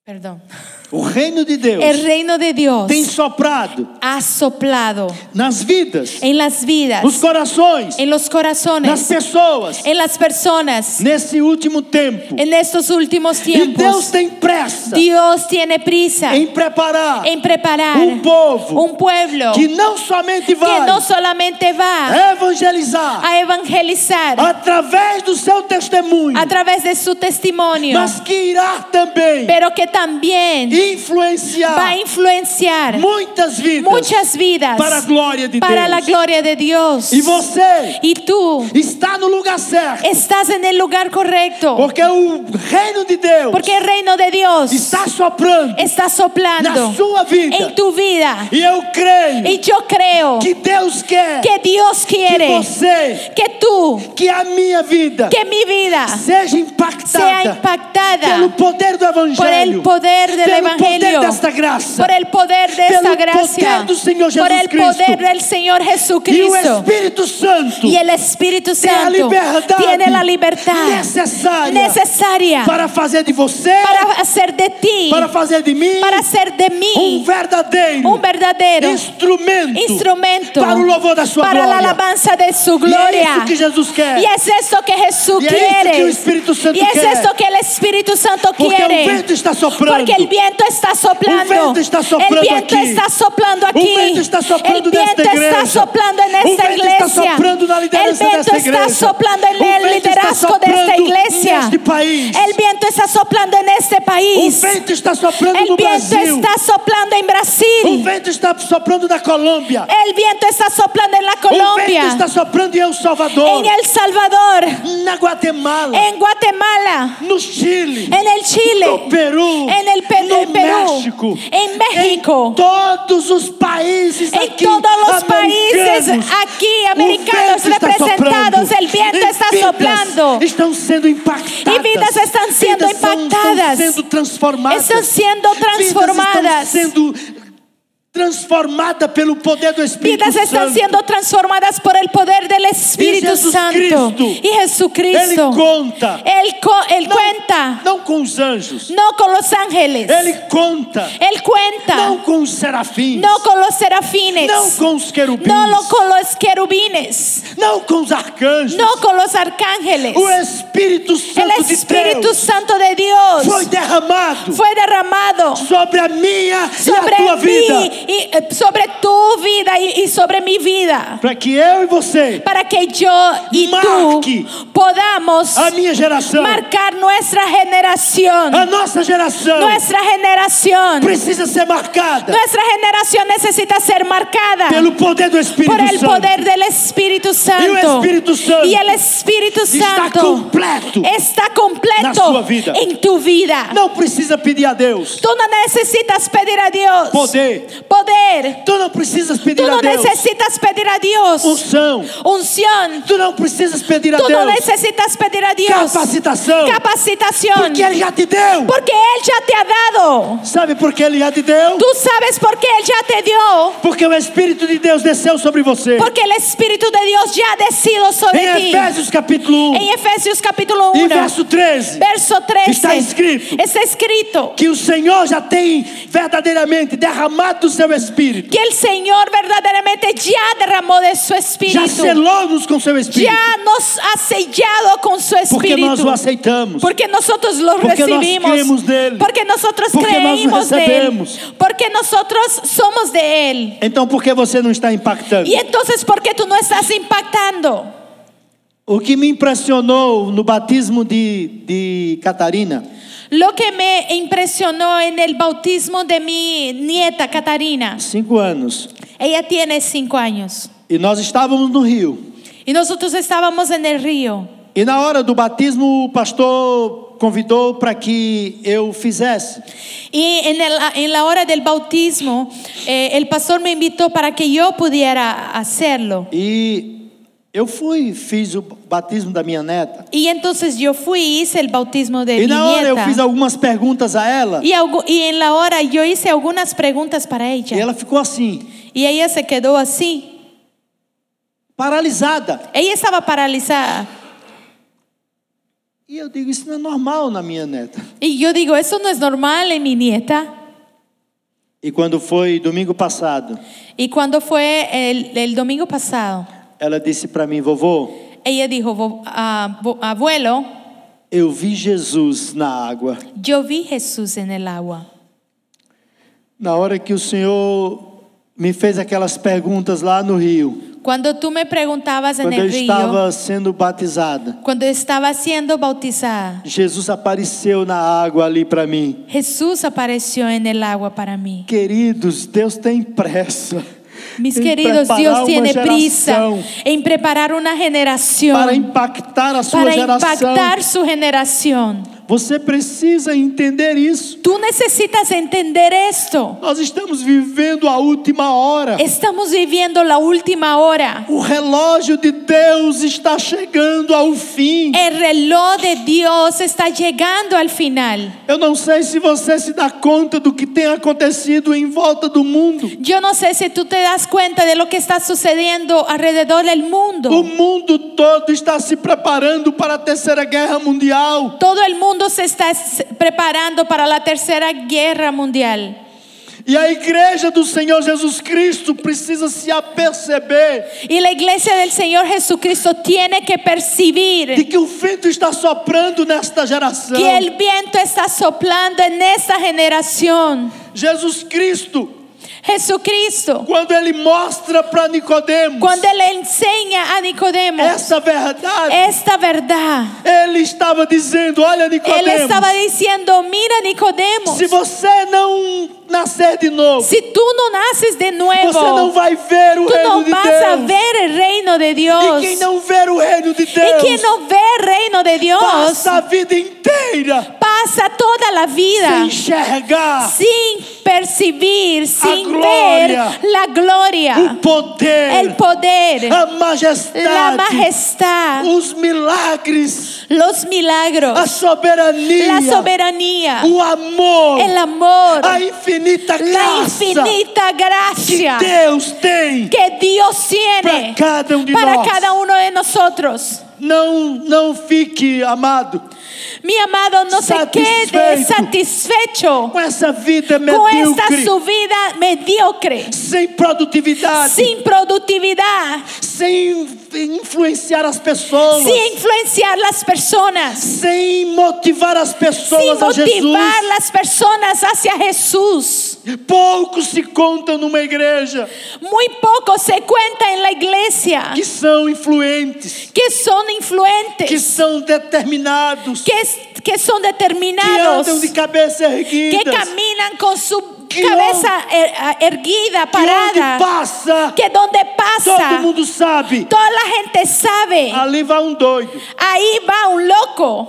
Perdón. O reino de Deus El É reino de Dios tem soprado ha soplado nas vidas, en las vidas, nos corações, en los nas corazones, pessoas, en las personas, nesse último tempo. en estos últimos E Deus tiempos. tem pressa Dios tiene prisa em preparar en preparar um povo un pueblo que não somente que vai no Eh. solamente va evangelizar a evangelizar através do seu testemunho, a través de su testimonio, mas que irá também pero que también va a influenciar influenciar muitas vidas muchas vidas para a glória de para Deus. la gloria de Dios. E você Y tú está no lugar certo, estás en el lugar correcto. porque o reino de Deus Porque el reino de Dios está soprando está na soplando sua vida. en tu vida. E eu creio Y yo creo que Deus quer que Dios que quiere você, que tú, que a minha vida que mi vida seja impactada, Ah. sea impactada pelo poder do evangelho, por el poder del pelo poder Evangelio, desta graça. por el poder de Pelo esta poder gracia, do Senhor Jesus por el poder Cristo. del Señor e o Jesucristo. Espírito Santo Y el Espíritu tem a Santo liberdade tiene la libertad necessária necesaria para fazer de você, para hacer de ti, para fazer de mim, para hacer de um mí verdadeiro un verdadero instrumento, instrumento para o louvor da sua para la glória. alabanza de su E é gloria. isso que Jesus quer. Y es esto que Jesús Y es esto quiere. que el Espíritu Santo y es quiere. esto que el Espíritu Santo Porque quiere. o vento está soprando. Porque el viento está soplando. O vento está soprando el viento aqui. está soplando aquí. O vento está soprando el viento nesta está igreja. soplando O en esta vento está iglesia. soprando na el liderança viento desta está igreja. soplando en O el vento está liderazgo de esta soprando iglesia. neste país. El viento está soplando en este O país. vento está soprando el no viento Brasil. está soplando en O Brasil. vento está soprando na Colômbia. El viento está soplando en la O vento Colombia, está soprando em El Salvador. en El Salvador, Na Guatemala. en Guatemala, No Chile. en el Chile, No Peru. en el Pe- no Perú, México. en México, Todos os países en aqui todos los países americanos. aquí o americanos vento está representados, soprando. el viento E está vidas soplando, Estão sendo impactadas. E vidas estão sendo Vidas são- impactadas. Estão sendo transformadas. están siendo Vidas estão transformadas. sendo transformadas pelo poder do Espírito Vidas están Santo. siendo transformadas por el poder del Espíritu Jesus Santo. Cristo, Y Ele Jesucristo. conta. Él, co- él cuenta, Não com os anjos. no con los ángeles. Ele conta. Él cuenta, Não com os serafins. no con los serafines. Não com os querubins. No lo- con los querubines, Não com os arcanjos. no con los arcángeles. O Espírito El Santo de Espíritu Deus Santo de Dios foi derramado fue derramado sobre a minha e sobre a tua vida. mí, y, eh, sobre tu vida y, y sobre mi vida, Para que eu e você, para que yo y Marque tú podamos a minha geração, marcar nuestra generación. a nossa geração, nuestra generación, precisa ser marcada nuestra generación necesita ser marcada pelo poder do Espírito por el Santo. poder del Espíritu Santo. Espíritu Santo Y el Espíritu Está Santo completo. está na sua completo vida. en tu vida. Não precisa pedir a Deus Tú no necesitas pedir a Dios poder. poder. Tu não precisas pedir Tú a no Deus necesitas pedir a Dios unção. unción. Tu não precisas pedir a Tú no Deus necesitas pedir a Dios capacitação. capacitación. Porque Ele já te deu. Porque Él ya te ha dado. Sabe por que Ele já te deu? Tú sabes por qué Él ya te dio. Porque o Espírito de Deus desceu sobre você. Porque el Espíritu de Dios ya decido sobre Em ti. Efésios capítulo 1 En Efesios capítulo 1, e verso 13, verso 13, Está escrito. está escrito que o Senhor já tem verdadeiramente derramado o seu Espírito. que el Señor verdaderamente ya derramó de su Já espíritu. selou-nos com seu Espírito. Ya nos ha sellado con su Porque nós espíritu. o aceitamos. Porque nosotros lo Porque nós recibimos. cremos nele. Porque nosotros Porque nós o creímos de Él. recebemos. Porque nosotros somos de Él. Então por que você não está impactando? Y entonces, ¿por qué tú no estás impactando? O que me impressionou no batismo de, de Catarina Lo que me impresionó en el bautismo de mi nieta Catarina, cinco anos. ella tiene cinco años, E nós estávamos no Rio. y nosotros estábamos en el río. E na hora do batismo, o pastor convidou para que eu fizesse. Y en, el- en la hora del bautismo, eh, el pastor me invitó para que yo pudiera hacerlo. E eu fui, fiz o batismo da minha neta. Y entonces yo fui y hice el bautismo de E mi na hora eu nieta. fiz algumas perguntas a ela. Y, algu- y en la hora yo hice algunas preguntas para E ella. ela ficou assim, Y ella se quedó así. paralisada. Ella estaba paralizada. E eu digo, isso não é normal na minha neta. Y yo digo, eso no es normal en mi nieta. E quando foi domingo passado, Y cuando fue el, el domingo pasado, ela disse para mim, vovô, ella dijo, "Vo- ah, vo- abuelo, eu vi Jesus na água. yo vi Jesús en el agua. Na hora que o Senhor me fez aquelas perguntas lá no rio, Cuando tú me preguntabas en quando eu el río, estava sendo batizada, cuando estaba siendo bautizada, Jesus apareceu na água ali para mim. Jesús apareció en el agua para mí. Queridos, Deus tem pressa. Mis em queridos, preparar Dios uma tiene prisa geração en preparar una generación Para impactar a sua para geração. impactar su generación. Você precisa entender isso. Tú necesitas entender esto. Nós estamos vivendo a última hora. Estamos viviendo la última hora. O relógio de Deus está chegando ao fim. El reloj de Dios está llegando al final. Eu não sei se você se dá conta do que tem acontecido em volta do mundo. Yo no sé si tú te das cuenta de lo que está sucediendo alrededor del O mundo. mundo todo está se preparando para a Terceira Guerra Mundial. Todo el mundo se está s- preparando para la tercera guerra mundial. E a igreja do Senhor Jesus Cristo precisa se aperceber Y la iglesia del Señor Jesucristo tiene que de percibir que o vento está soprando nesta geração. que el viento está soplando en esta generación. Jesus Cristo, Jesucristo, quando ele mostra para Nicodemos cuando le enseña a Nicodemo essa verdade, esta verdad, ele estava dizendo: "Olha él Nicodemos, estaba diciendo, mira Nicodemo, se você não nascer de novo, si tú no naces de Você não nuevo, vai ver o tú reino no de vas Deus. a ver el reino de E Dios. quem não ver o reino de Y Deus quien no ve el reino de Dios passa a vida inteira pasa toda la vida sem enxergar sin percibir, sin ver gloria. la o gloria, poder, el poder, a majestade, la majestad, os milagres, los a milagros, soberania, la soberanía, o amor, el amor, a infinita la graça infinita que gracia Deus tem. que Dios Para tiene cada um de para nós. cada uno de nosotros. Não, não fique, amado, Mi amado, no se quede Satisfeito. satisfecho com essa vida con esta medíocre, su vida mediocre, sem produtividade, sin productividad, sem influenciar as pessoas, sin influenciar las personas, sem motivar as sin pessoas a Jesus. motivar las personas hacia Jesús. Poucos se contam numa igreja Muy poco se cuenta en la iglesia que são influentes, que son que influentes, são determinados, que que, es- que son andam determinados, de cabeça que erguida, caminan con su Que cabeza her- erguida, que onde parada, passa, que donde todo pasa, mundo sabe. toda la gente sabe, Ali vai um doido ahí va un loco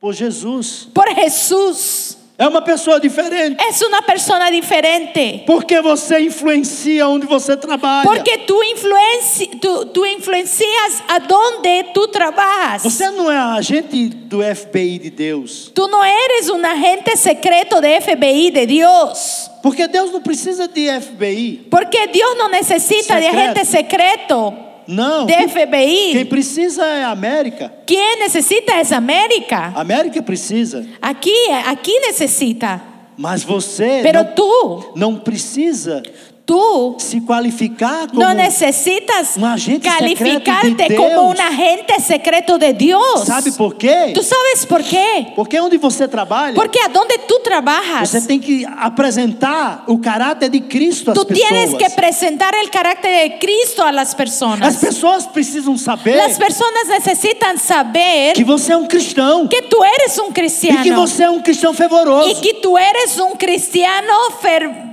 por Jesus. por Jesús. É uma pessoa diferente. Es una persona diferente. Porque você influencia onde você trabalha. Porque tú, influenci- tú, tú influencias a donde tú trabajas. Você não é agente do FBI de Deus. tú no eres un agente secreto de FBI de Dios. Porque Deus não precisa de FBI. Porque Dios no necesita de Secreto. agente secreto. Não. de Quem FBI. precisa é a América. ¿Quién necesita es América? A América precisa. Aquí, aquí necesita. Mas você Pero tú, não, não precisa tú se qualificar como no necesitas un agente secreto calificarte de como Dios. un agente secreto de Dios. Sabe por quê? ¿Tú sabes por qué? Porque onde você trabalha, Porque a donde tú você trabajas, tem que apresentar o caráter de Cristo às tú tienes que pessoas. presentar el carácter de Cristo a las As personas. pessoas precisam saber Las personas necesitan saber que você é um cristão que tú eres un e que cristiano você é um cristão y fervoroso. que tú eres un cristiano fer-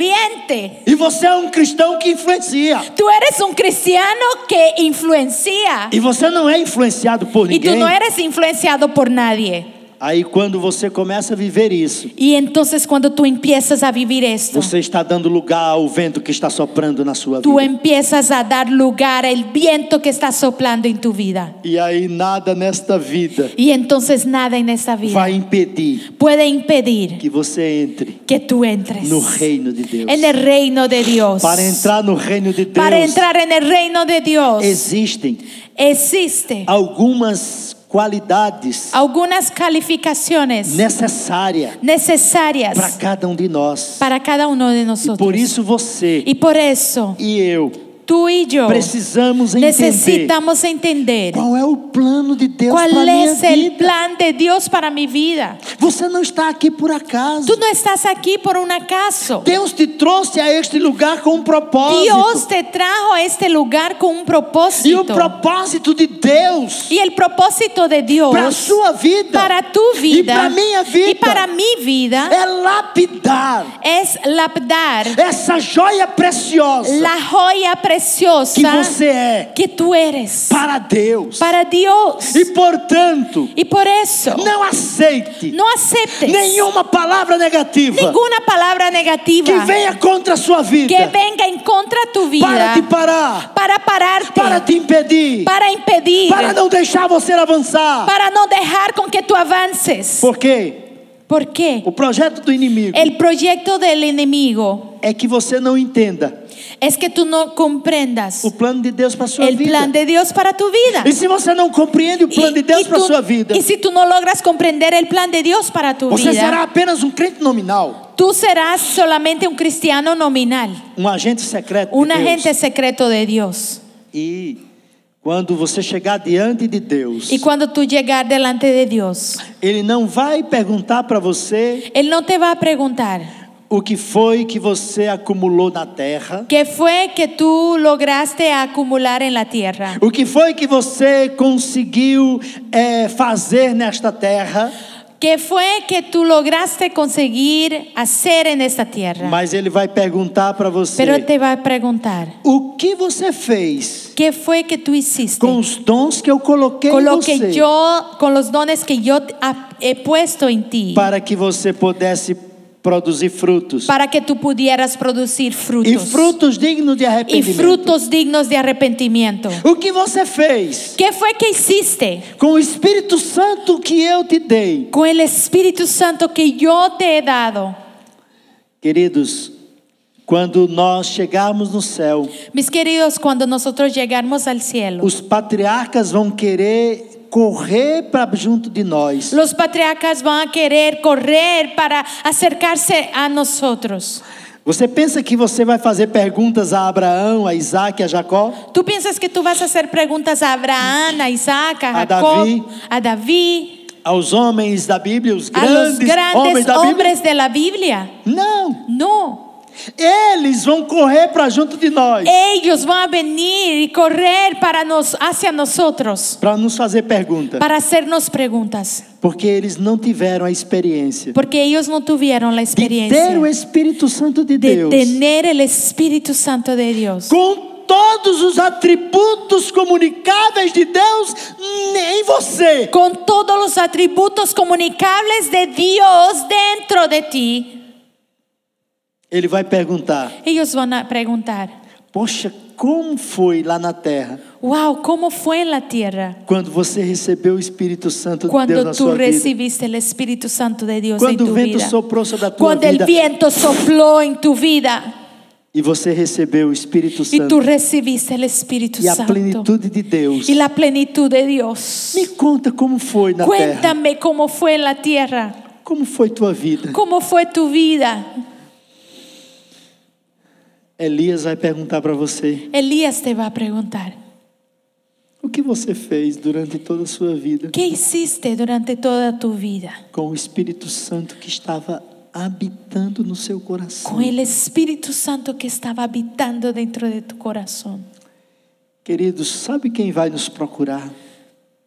ferviente. E você é um cristão que influencia. Tú eres un cristiano que influencia E você não é influenciado por y tú ninguém. no eres influenciado por nadie. Aí quando você começa a viver isso, Y entonces cuando tú empiezas a vivir esto, você está dando lugar ao vento que está soprando na sua tú vida. empiezas a dar lugar al viento que está soplando en tu vida. E aí nada nesta vida Y entonces nada en esta vida vai impedir puede impedir que você entre que tú entres no reino de Deus. en el reino de Dios. Para entrar no reino de Deus, É Para entrar en el reino de Dios existem existe algumas qualidades algunas calificaciones necessárias para necesarias cada um de nós. para cada uno de E por nosotros. isso você Y por eso e eu tú y yo precisamos entender necesitamos entender qual é o plano de Deus para a ¿Cuál minha es el vida. plan de Dios para mi vida? Você não está aqui por acaso. Tú no estás aquí por un acaso. Deus te trouxe a este lugar com um propósito. Dios te trajo a este lugar con un E o propósito. propósito de Deus Y el propósito para a de Dios sua vida para tu e para vida a minha y para vida mi vida é lapidar es lapdar essa joia preciosa la joya que preciosa você é que tú eres para Deus. para Dios. E portanto, Y por eso não aceite no aceptes nenhuma palavra negativa ninguna palabra que negativa venha contra a sua vida que venga en contra de tu para vida. te parar, para pararte, para te impedir, para impedir, para não deixar você avançar. para no dejar con que tú avances. Porque ¿Por qué? o projeto do inimigo El proyecto del enemigo é que você não entenda es que tú no comprendas o plano de Deus para sua el vida. plan de Dios para tu vida. E se você não compreende o plano de Deus para tú- sua vida, y si tú no logras comprender el plan de Dios para tu você vida, será apenas um crente nominal, tú serás solamente un cristiano nominal, um agente secreto un de Deus. agente secreto de Dios. E quando você chegar diante de Deus, Y cuando tú llegas delante de Dios, ele não vai perguntar para você Él no te va a preguntar o que foi que você acumulou na terra, qué fue que tú lograste acumular en la tierra. o que foi que você conseguiu eh, fazer nesta terra, ¿Qué fue que tú lograste conseguir hacer en esta tierra? mas ele vai perguntar para você É. Pero te va a preguntar, o que você fez ¿qué fue que tú hiciste com os dons que eu coloquei con em lo você. que yo, con los dones que yo te- ha- he puesto en ti para que você pudesse produzir frutos. para que tú pudieras producir E frutos frutos dignos de y arrependimento. frutos dignos de arrepentimiento? O que você fez ¿Qué fue que hiciste com o Espírito Santo que eu te dei? con el Espíritu Santo que yo te he dado? Queridos, quando nós chegarmos no céu, Mis queridos, cuando nosotros llegamos al cielo, os patriarcas vão querer correr para junto de nós. Los patriarcas van a querer correr para acercarse a nosotros. Você pensa que você vai fazer perguntas a Abraão, a Isaac, a Jacó? ¿Tú piensas que tú vas a hacer preguntas a Abraham, a Isaac, a A Jacob, David. a David, Aos homens da Bíblia, os a los grandes, homens grandes da Bíblia? hombres de la Biblia? Não, No, eles vão correr para junto de nós. ellos van a venir y correr para nos, hacia nosotros para nos fazer pergunta, para hacernos preguntas, porque eles não tiveram a experiência porque ellos no tuvieron la de ter o experiencia Espírito Santo de de Deus tener el Espíritu Santo de Dios. com todos os atributos comunicáveis de Deus em você. con todos los atributos comunicables de Dios dentro de ti. Ele vai perguntar: Ellos van a preguntar, Poxa, como foi lá na terra wow, ¿cómo fue en la tierra quando você recebeu o Espírito Santo de Deus cuando na tú sua vida? recibiste el Espíritu Santo de Dios en Quando o tu vento vida? soprou sobre a tua Cuando el vida, viento sopló en tu vida, E você recebeu o Espírito y tú Santo recibiste el Espíritu e a Santo plenitude de Deus. y la plenitud de Dios. Me conta como foi na terra. Cuéntame cómo fue en la tierra, Como foi tua vida? cómo fue tu vida. Elias vai perguntar para você: Elías te va a preguntar, o que você fez durante toda a sua vida ¿qué hiciste durante toda tu vida com o Espírito Santo que estava habitando no seu coração? con el Espíritu Santo que estaba habitando dentro de tu corazón? Queridos, sabe quem vai nos procurar?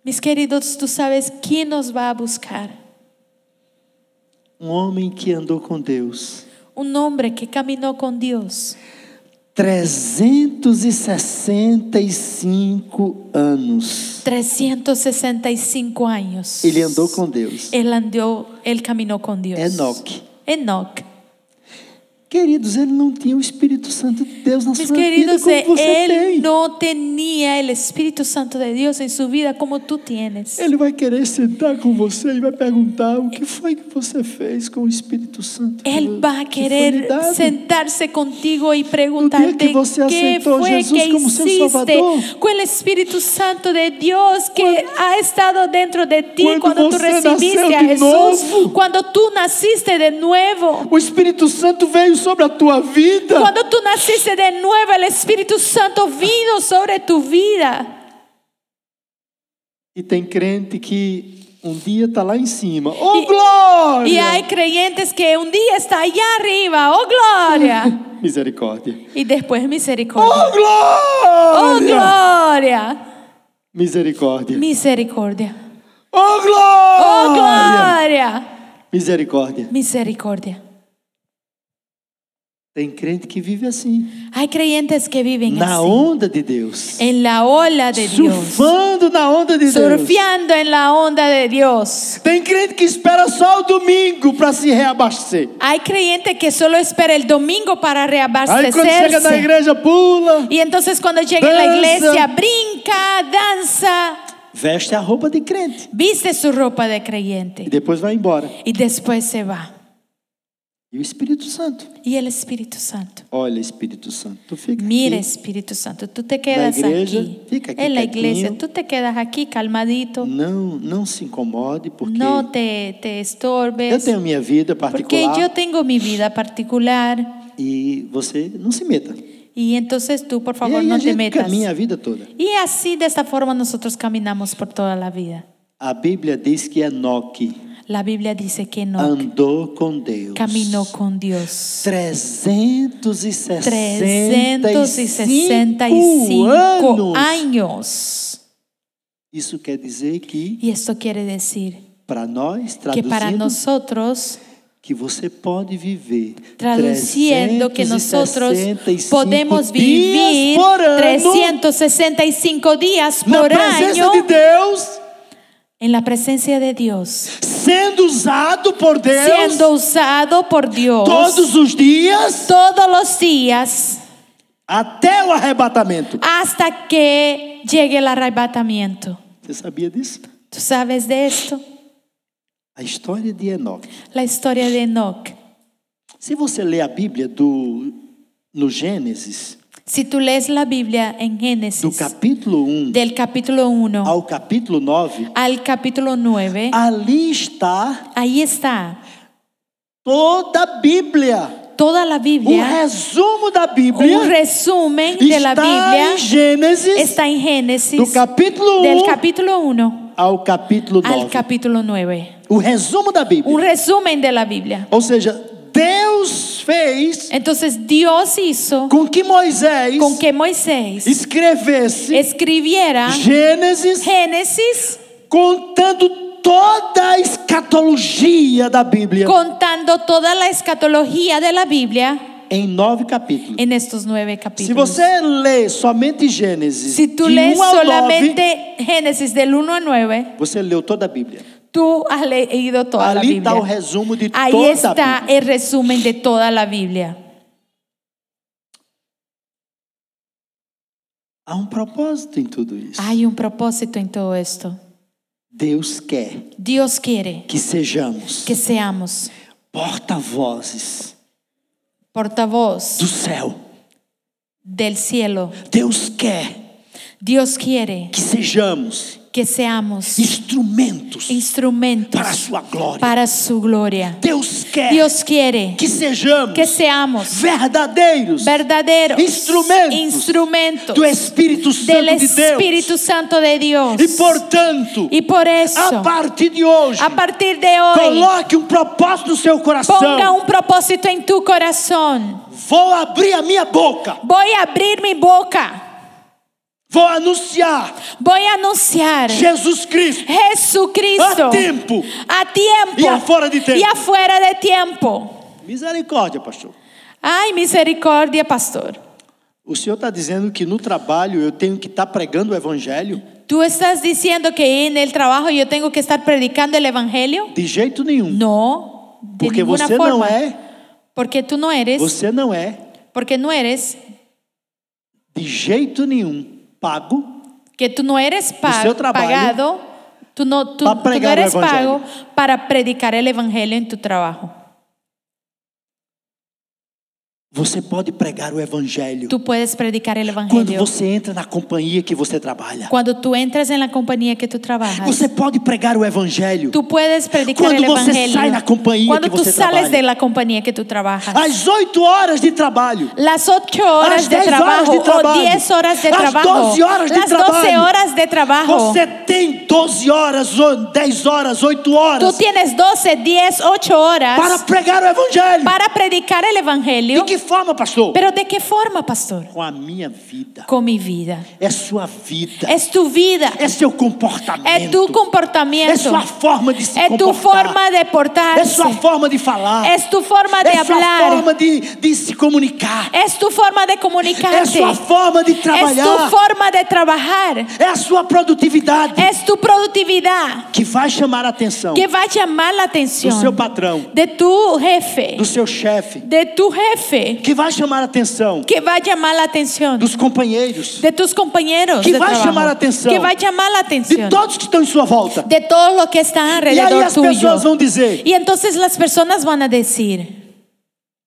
Mis queridos, tú sabes quién nos va a buscar. Um homem que andou com Deus Un hombre que caminó con Dios 365 anos. 365 años. Ele andou com Deus. Él andó, él caminó con Dios. Enoque. Enoch. Queridos, ele não tinha o Espírito Santo de Deus na Mis sua vida queridos, como você él tem. no tenía el Espíritu Santo de Dios en su vida como tú tienes. Ele vai querer sentar com você e vai perguntar o que foi que você fez com o Espírito Santo. Él que- va a que foi lhe querer dado. sentarse contigo y No día preguntarte que você qué aceptó a fue Jesús que como seu hiciste Salvador. con el Espíritu Santo de Dios que ha estado dentro de ti Cuando cuando tú você recibiste nasceu a de Jesús, novo. cuando tú naciste de nuevo. O Espírito Santo veio sobre a tua vida. Cuando tú naciste de nuevo, el Espíritu Santo vino sobre tu vida. E tem crente que um dia está lá em cima. Oh, E- glória! Y hay creyentes que un día está allá arriba, oh gloria. Misericórdia. Y después Oh, misericordia. Oh glória! gloria. Misericórdia. Misericordia. Oh, Oh glória! gloria. Misericórdia. Misericordia. Tem crente que vive assim, Hay creyentes que viven na así, onda de Deus. en la ola assim. É de Dios, Surfando na onda de Deus. surfeando en la onda de Dios. Tem crente que espera só o domingo para se reabastecer. Hay creyentes que solo espera el domingo para Aí quando chega na reabastecerse. igreja, pula. Y entonces cuando llega a la Danza. iglesia, brinca, danza, Veste a roupa de crente. viste su ropa de E creyente depois vai embora. y después se va. E o Espírito Santo. Y el Espíritu Santo. Olha, Espírito Santo, tu fica Mira, aqui. Espíritu Santo, tú te quedas iglesia, aquí, fica aquí en la quietinho. iglesia, tú te quedas aquí calmadito, Não, não se incomode, porque no te, te eu estorbes, tenho minha vida porque particular yo tengo mi vida particular e você não se meta. y entonces tú, por e favor, aí a no te gente metas. caminha a vida toda. Y así de esta forma nosotros caminamos por toda la vida. A Bíblia diz que Enoque La Biblia dice que no andou com Deus. caminó con Dios. 365 365 anos. años. Isso quer dizer que Y esto quiere decir para nós, que para traduzindo, nosotros, que você pode viver traduciendo que nosotros 365 podemos vivir dias por ano 365 días na por presença año de Deus, en la presencia de Dios, sendo usado por Deus siendo usado por Dios todos os dias todos los días até o arrebatamento. hasta que llegue el arrebatamiento. Você sabia disso? ¿Tú sabes de esto? A história de Enoque. La historia de Enoch. Se você ler a Bíblia do no Gênesis, Si tú lees la Biblia en do Génesis, capítulo 1 del capítulo 1 ao capítulo 9, al capítulo 9, Ah. ali está ahí está toda a Bíblia. toda la O Biblia, resumo da Bíblia un resumen de la está Biblia em Gênesis, está en do Génesis, capítulo 1 del capítulo 1 ao capítulo al 9. capítulo 9. O resumo da Un Bíblia. resumen de la Biblia. Ou seja, Deus fez Entonces Dios hizo com que Moisés con que Moisés escrevesse escribiera Gênesis Génesis contando toda a escatologia da Bíblia contando toda la escatología de la Biblia em nove capítulos. en estos nueve Se capítulos. você lê somente Gênesis, Si tú de lees 1 ao 9, solamente Génesis del 1 al 9, você leu toda a Bíblia. tú has leído toda la Ali está o Biblia. resumo de Ahí toda a está Bíblia. el resumen de toda la Biblia. Há um propósito em tudo isso. Hay un propósito en todo esto. Deus quer Dios quiere que sejamos que seamos porta-vozes portavoz do céu. del cielo. Deus quer Dios quiere que sejamos que seamos instrumentos instrumentos para a sua glória. para su gloria. Deus quer Dios quiere que sejamos que seamos verdadeiros verdaderos instrumentos instrumentos do Espírito Santo del de Deus. Espíritu Santo de Dios. E portanto, Y por eso, a partir de hoje, a partir de hoy, coloque um propósito no seu coração. ponga um un propósito en tu corazón. Vou abrir a minha boca. Voy a abrir mi boca. Vou anunciar Voy a anunciar Jesus Cristo Jesucristo a tempo a tiempo e afuera de tempo. y afuera de tiempo. Misericórdia, pastor. Ay, misericordia, pastor. O senhor está dizendo que no trabalho eu tenho que estar pregando o evangelho? ¿Tú estás diciendo que en el trabajo yo tengo que estar predicando el evangelio? De jeito nenhum. No, de porque ninguna você não forma. é, Porque tú no eres, você não é porque no eres, de jeito nenhum pago que tú no eres pa- seu trabalho pagado, tú no, tú, pra tú no pregar o eres evangelho. pago para predicar el evangelio en tu trabajo. Você pode pregar o evangelho Tú puedes predicar el quando evangelio você entra na companhia que você trabalha. cuando tú entras en la compañía que tú trabajas. Você pode pregar o evangelho Tú puedes predicar Quando el você evangelio sai da companhia cuando que tú você sales trabalha. de la compañía que tú trabajas. às 8 horas de trabalho. Las 8 Às horas de 10 horas trabajo, de trabalho. o 10 horas de Às trabajo, 12 horas de las 12 trabalho. horas de trabajo. Você tem 12 horas, ou 10 horas, 8 Tú horas tienes 12, 10, 8 horas para pregar o evangelho. para predicar el evangelio. De que forma, pastor? Pero ¿de qué forma, pastor? Com a minha vida. Con mi vida. É sua vida. Es tu vida, É seu comportamento. es tu É comportamiento, sua forma de se es tu comportar. forma de É sua portarse, forma de falar. es tu forma de É sua hablar, forma de, de se comunicar. es tu forma de É comunicarte, sua forma de es tu trabalhar. forma de trabajar, É a sua produtividade es tu productividad que vai chamar a atenção É que va a llamar la do seu atención patrão, de tu jefe, do seu chefe, de tu jefe, que vai chamar a atenção que va a llamar la atención dos companheiros, de tus compañeros, Que de vai trabajo, chamar a atenção. que va a llamar la de atención todos que estão em sua volta. de todos los que están E aí alrededor as pessoas tuyo. vão dizer: Y entonces las personas van a decir,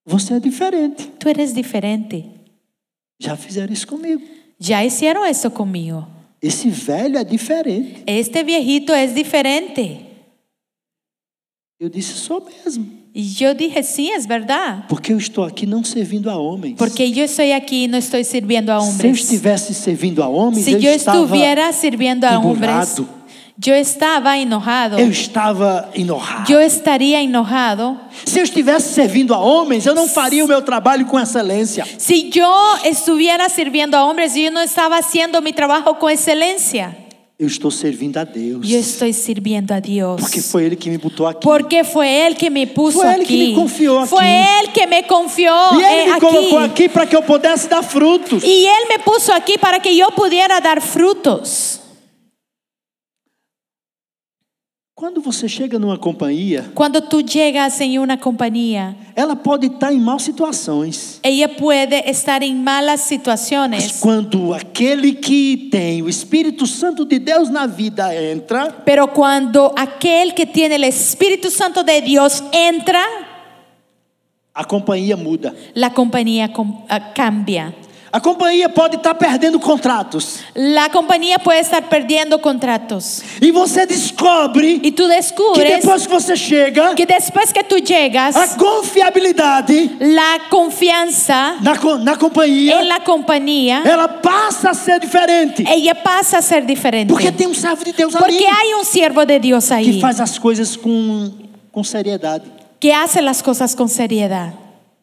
Você é diferente. tú eres diferente. Já fizeram isso comigo. Ya hicieron eso conmigo. Esse velho é diferente. Este viejito es diferente. Eu disse: Sou mesmo. Y yo dije, sí, es verdad. Porque eu estou aqui não servindo a homens. Porque yo estoy aquí y no estoy sirviendo a se eu hombres. estivesse servindo a homens, Si eu, yo estava, estuviera sirviendo a hombres, emburrado. yo estaba enojado. eu estava enojado. Yo estaría enojado. Se eu estivesse servindo a homens, eu não faria o meu trabalho com excelência. Si yo estuviera sirviendo a hombres, yo no estaba haciendo mi trabajo con excelencia. Eu estou servindo a Deus. Yo estoy sirviendo a Dios. Porque foi Ele que me botou aqui. Porque fue Él que me puso Fue aquí. Él que me confió aquí. Fue Él que me confió E eh, Ele me aquí. colocou é aqui para que eu pudesse dar frutos. Y Él me puso aquí para que yo pudiera dar frutos. Quando você chega numa companhia, Cuando tú llegas en una compañía, ela pode estar em más situações. ella puede estar en malas Mas situaciones. quando aquele que tem o Espírito Santo de Deus na vida entra, Pero cuando aquel que tiene el Espíritu Santo de Dios entra, a companhia muda. la compañía com- ah, cambia. A companhia pode estar perdendo contratos. La compañía puede estar perdiendo contratos. E você descobre Y tú que descubres depois que você chega, que después que tú llegas, a confiabilidade la confianza na, co- na en companhia, la compañía, ela passa a ser diferente. ella pasa a ser É diferente. Porque tem um servo de Deus ali Porque hay un siervo de Dios que ahí faz as coisas com, com seriedade. que hace las cosas con seriedad.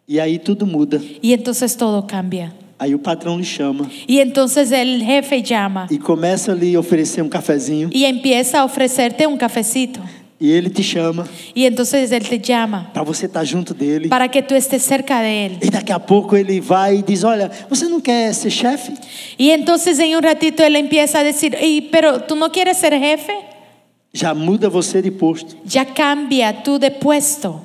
E aí tudo muda. Y entonces todo cambia. Aí o patrão lhe chama Y entonces el jefe llama e começa a lhe oferecer um cafezinho. y empieza a ofrecerte un cafecito. E ele te chama Y entonces él te llama para você estar junto dele. para que tú estés cerca de él. E daqui a pouco ele vai e diz: Olha, você não quer ser chefe? Y entonces en un ratito él empieza a decir, "Ey, pero tú no quieres ser jefe? Já muda você de posto. Ya cambia tú de puesto.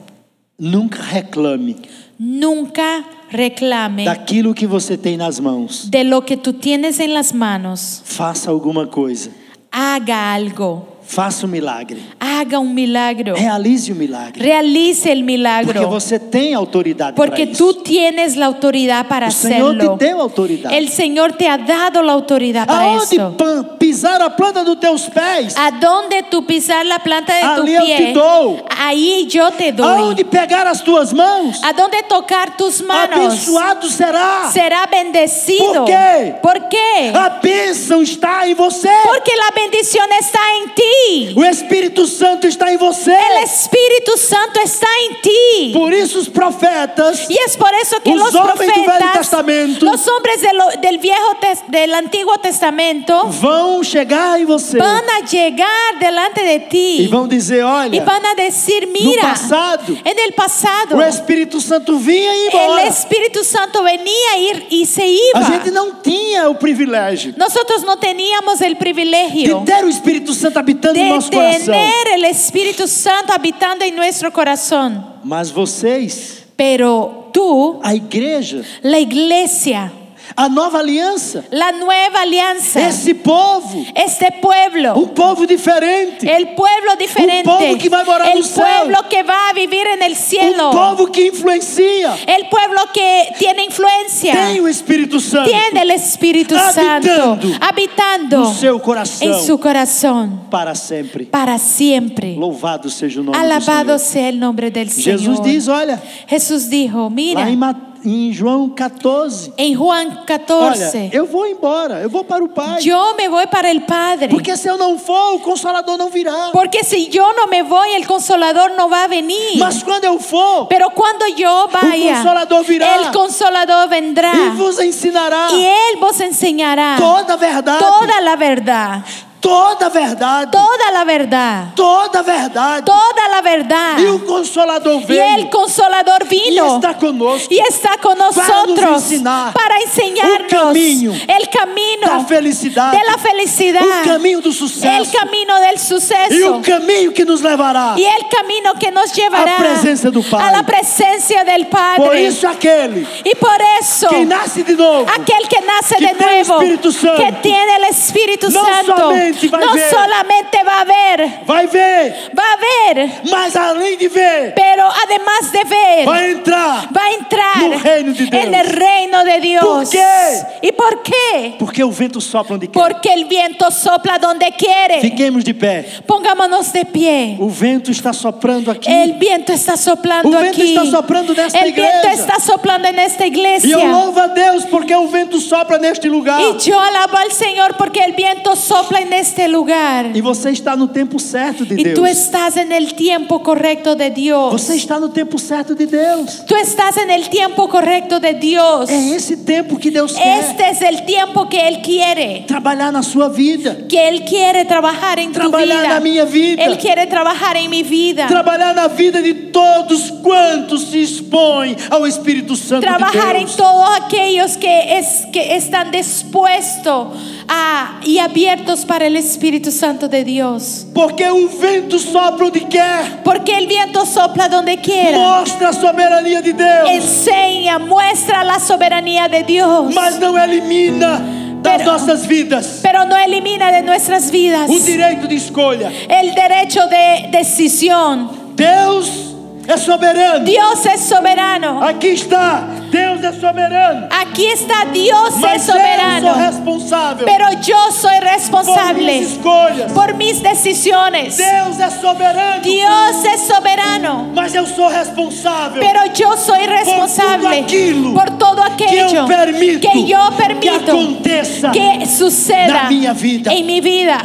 Nunca reclame Nunca reclame daquilo que você tem nas mãos. de lo que tú tienes en las manos. Faça alguma coisa. Haga algo. Faça um milagre. haga un milagro. Realize o milagre. Realice el Porque milagro. você tem autoridade para Porque é tú isso. tienes la autoridad para O Senhor te Ah, hacerlo. deu autoridade. El Señor te ha dado la autoridad para Aonde eso. pan- pisar a planta dos teus pés, A donde tú pisar la planta de tu Ali eu te pie, dou. ahí yo te doy. aonde pegar as tuas mãos, A donde tocar tus manos, abençoado será. será bendecido. Por Ah. quê? ¿Por qué? A bênção está em você. Porque la bendición está en ti. O Espírito Santo está em você. El Espíritu Santo está en ti. Por isso os profetas Y es por eso que Os los homens do Velho profetas, Testamento- los hombres de lo- del viejo Tes- del Antiguo Testamento, vão chegar em você van a llegar delante de e ti vão dizer, y olha, van a decir, no mira, passado en el pasado o Espírito Santo vinha e ia el embora. Espíritu Santo venía a ir y se A gente iba. não tinha o privilégio Nosotros no teníamos el privilegio de ter o Espírito Santo habitando em de nosso coração. tener el Espíritu Santo habitando en nuestro corazón. Mas vocês, Pero tú, a igreja, la iglesia, a nova aliança, la nueva alianza, esse povo, este pueblo, um povo diferente, um El pueblo diferente. Un pueblo que va a morar el en el cielo. pueblo que va a vivir en el cielo. um povo que influencia, El pueblo que tiene influencia. tem o Espírito Santo Tiene el Espíritu Santo Habitando. habitando no seu coração en su corazón para sempre. para siempre. Louvado seja o nome Alabado do sea el nombre del Senhor. Jesus Señor. diz, olha, Jesús dijo, mira, lá em, Ma- em João 14, en Juan olha, 14, eu vou embora, eu vou para o Pai, yo me voy para el Padre. porque se eu não for, o Consolador não virá. Porque si yo no me voy, el consolador no va a venir. Mas quando eu for, Pero cuando yo vaya, Consolador virá. el consolador vendrá ele vos ensinará y él vos enseñará toda a verdade, é. toda la verdad, toda a verdade, toda la verdad, toda a verdade. toda la verdad. E o Consolador Y el veio consolador e vino está conosco. y está con Para nos nosotros ensinar para enseñarnos o caminho el camino da felicidade, de la felicidad, o caminho do sucesso el camino e del o suceso. caminho que nos levará. Y el camino que nos à llevará presença do Pai. a la presencia del Padre. Por isso aquele Y por eso, que nasce de novo aquel que nace que de tem o nuevo, Espírito Santo, que tiene el Espíritu não Santo, somente vai no ver, solamente va a ver, vai ver, va a ver, mas além de ver, pero además de ver, vai entrar, va a entrar no reino de Deus. en el reino de Dios. ¿Por qué? ¿Y por qué? porque o vento sopra onde quer. Porque el viento sopla donde quiere. Fiquemos de pé. Pongámonos de pie. O vento está soprando aqui. El viento está soplando O vento aquí. está soprando nesta El viento igreja. está soplando en esta E iglesia. eu louvo a Deus porque o vento sopra neste lugar. Y yo alabo al Señor porque el viento sopla en este lugar. E você está no tempo certo de Y tú Deus. estás en el tiempo correcto de Dios. Você está no tempo certo de Deus. Tú estás en el tiempo correcto de Dios. É esse tempo que Deus quer Este es el tiempo que Él quiere. trabalhar na sua vida, Que Él quiere trabajar en tu Trabalhar vida. na minha vida. Él quiere trabajar en mi vida. trabalhar na vida de todos quantos se expõem ao Espírito Santo trabajar de en Deus. todos aquellos que, es, que están dispuestos a, y abiertos para el Espíritu Santo de Dios. Porque o vento sopra onde quer. Porque el viento sopla donde quiera. Mostra a soberania de Deus, Enseña, muestra la soberanía de Dios, mas não elimina das Pero- nossas vidas pero no elimina de nuestras vidas o direito de escolha. el derecho de decisión. Deus é soberano. Dios es soberano. Aqui está. Deus é soberano. Aquí está Dios es Mas eu sou soberano. responsável Pero yo soy por minhas responsable escolhas. por mis decisiones. Deus é soberano. Dios es soberano, Mas eu sou responsável. pero yo soy responsable aquilo por todo que eu aquello permito que yo que permito aconteça. que na suceda minha vida. en mi vida.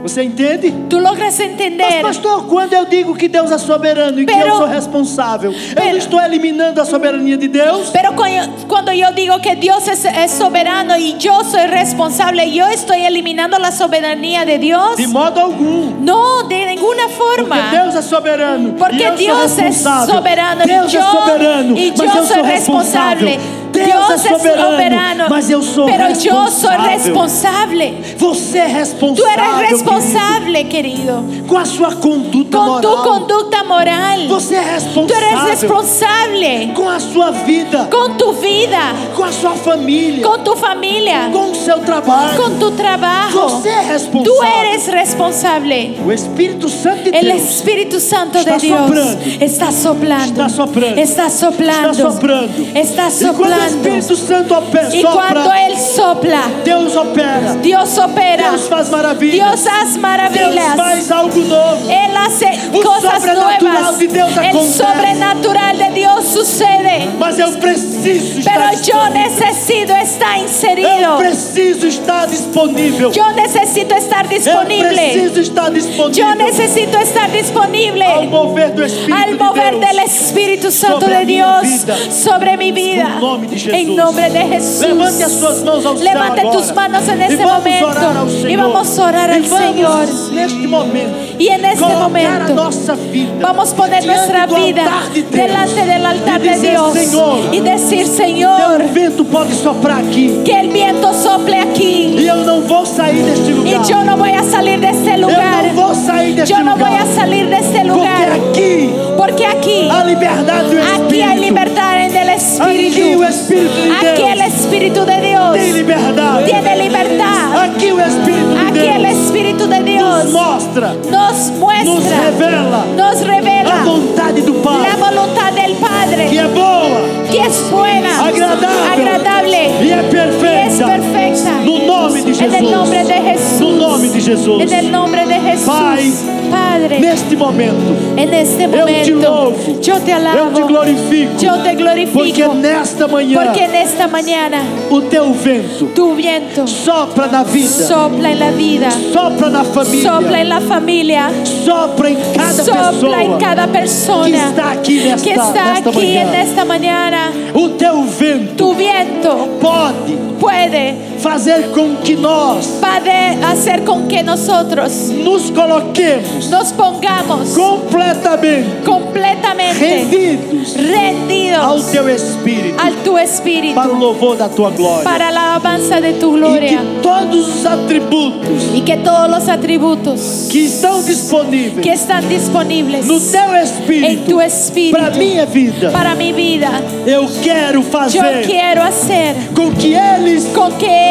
Você entende? Tú logras Mas, entender, pastor, quando eu digo que Deus é soberano e que Pero- eu sou responsável, eu Pero- não estou eliminando a soberania de Deus? pero cuando, cuando yo digo que Dios es, es soberano y yo soy responsable, yo estoy eliminando la soberanía de Dios. De modo algum. No, de ninguna Porque forma. Deus é soberano. e Porque eu Deus sou é responsável. soberano, Deus e eu- é soberano. e mas eu eu sou sou responsável. responsável. Deus, Dios é es soberano, soberano, mas eu sou pero yo soy responsável. responsable. Você é Tú responsável. querido, eres responsable, querido, com a sua conduta con tu moral. conducta moral. Você é Tú eres responsável responsable com a sua vida, con tu vida, com a sua família, con tu familia, com o seu trabalho. con tu trabajo. Você é responsável. Tú eres responsable. O Espírito Santo de El Deus Espíritu Santo Está de Dios soplando. está soplando. Está soplando. Está soplando. está soprando. E Está quando o soplando. Espírito Santo opera, Y cuando sopra, Él sopla, Deus opera. Dios opera. Deus faz maravilhas. Dios hace Deus maravillas. faz algo novo. Él hace Un cosas sobrenatural nuevas. de Dios El acontece. sobrenatural de Dios sucede. Mas eu preciso estar Pero yo disponível. necesito estar Eu inserido. preciso estar disponível. Yo necesito estar Eu disponible. preciso estar disponível. Yo necesito estar ao disponible. mover do Espírito al de mover Deus. del Espíritu Santo sobre de mi Dios vida. sobre mi vida. En nombre de Jesús. En nombre Levante de Jesús. as suas mãos ao céu Levante agora. tus manos en E este vamos orar ao momento. Senhor. Y vamos a orar E al vamos, Señor. Neste momento. Y en este colocar a momento nossa vida. vamos a poner diante nuestra do vida altar de Deus. delante del altar E de dizer, Dios. Senhor, Y decir, Señor, Teu vento pode soprar aqui. que el viento sople aquí. E eu não vou sair deste lugar. Y yo no voy a salir de este lugar. Eu não vou sair deste Yo no lugar. voy a salir de este lugar. Porque aqui Porque aquí, a liberdade do Espírito. aquí hay libertad en el Aqui Espíritu. o Espírito de Aquí Deus el Espíritu de Dios tem liberdade. tiene libertad. Aqui o Espírito de Aquí Deus el Espíritu de nos Dios mostra, nos nos muestra, revela nos a revela vontade do la Pai, voluntad del que Padre, é boa, que es buena, Ah, agradável, agradable, e é que es perfeita. perfecta. No nome de En el nombre de Jesus. No nome de Jesús. Jesus. En el nombre de Pai, Jesús. Padre, Neste momento, en este eu te momento louvo, yo te eu te alabo, glorifico, yo te porque glorifico, nesta manhã porque en esta mañana o teu vento tu viento sopra na vida, sopla en la vida. sopra na família, Sopla en la familia. sopra em cada pessoa Sopla en cada que persona está aqui nesta, que está nesta aquí manhã. en esta mañana. O teu vento Tu viento pode puede fazer com que nós pade- hacer con que nosotros nos coloquemos nos pongamos completamente completamente rendidos ao rendidos teu Espírito al tu espíritu para o louvor da tua glória. para la alabanza de tu e gloria que todos os atributos y que todos los atributos que estão disponíveis que están disponibles no teu Espírito en tu espíritu para minha vida, para mi vida eu quero Yo fazer quiero hacer com que eles con que ellos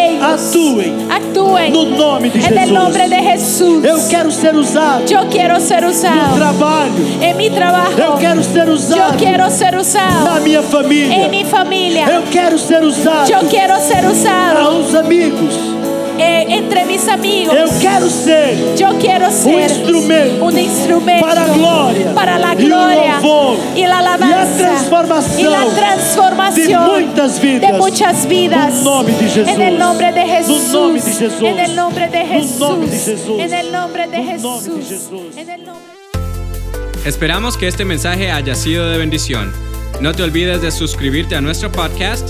Actúen. É actúen no nome de en Jesus. el nombre de Jesús. Eu quero ser usado Yo quiero ser no usado trabalho. en mi Eu trabajo. quero ser Yo usado quiero ser na usado minha família. en mi familia. Eu quero ser usado Yo quiero ser para usado os amigos. eh, entre mis amigos. Eu quero ser Yo quiero um ser instrumento un instrumento para a glória para la e o gloria louvor y la alabanza transformação y la transformación de muitas vidas. de muchas vidas. No nome de Jesus. En el nombre de No nome Jesús. de Jesus. En el nombre de No nome de Jesús. Jesus. En el nombre de No nome de Jesús. Jesus. En el nombre- Esperamos que este mensaje haya sido de bendición. No te olvides de suscribirte a nuestro podcast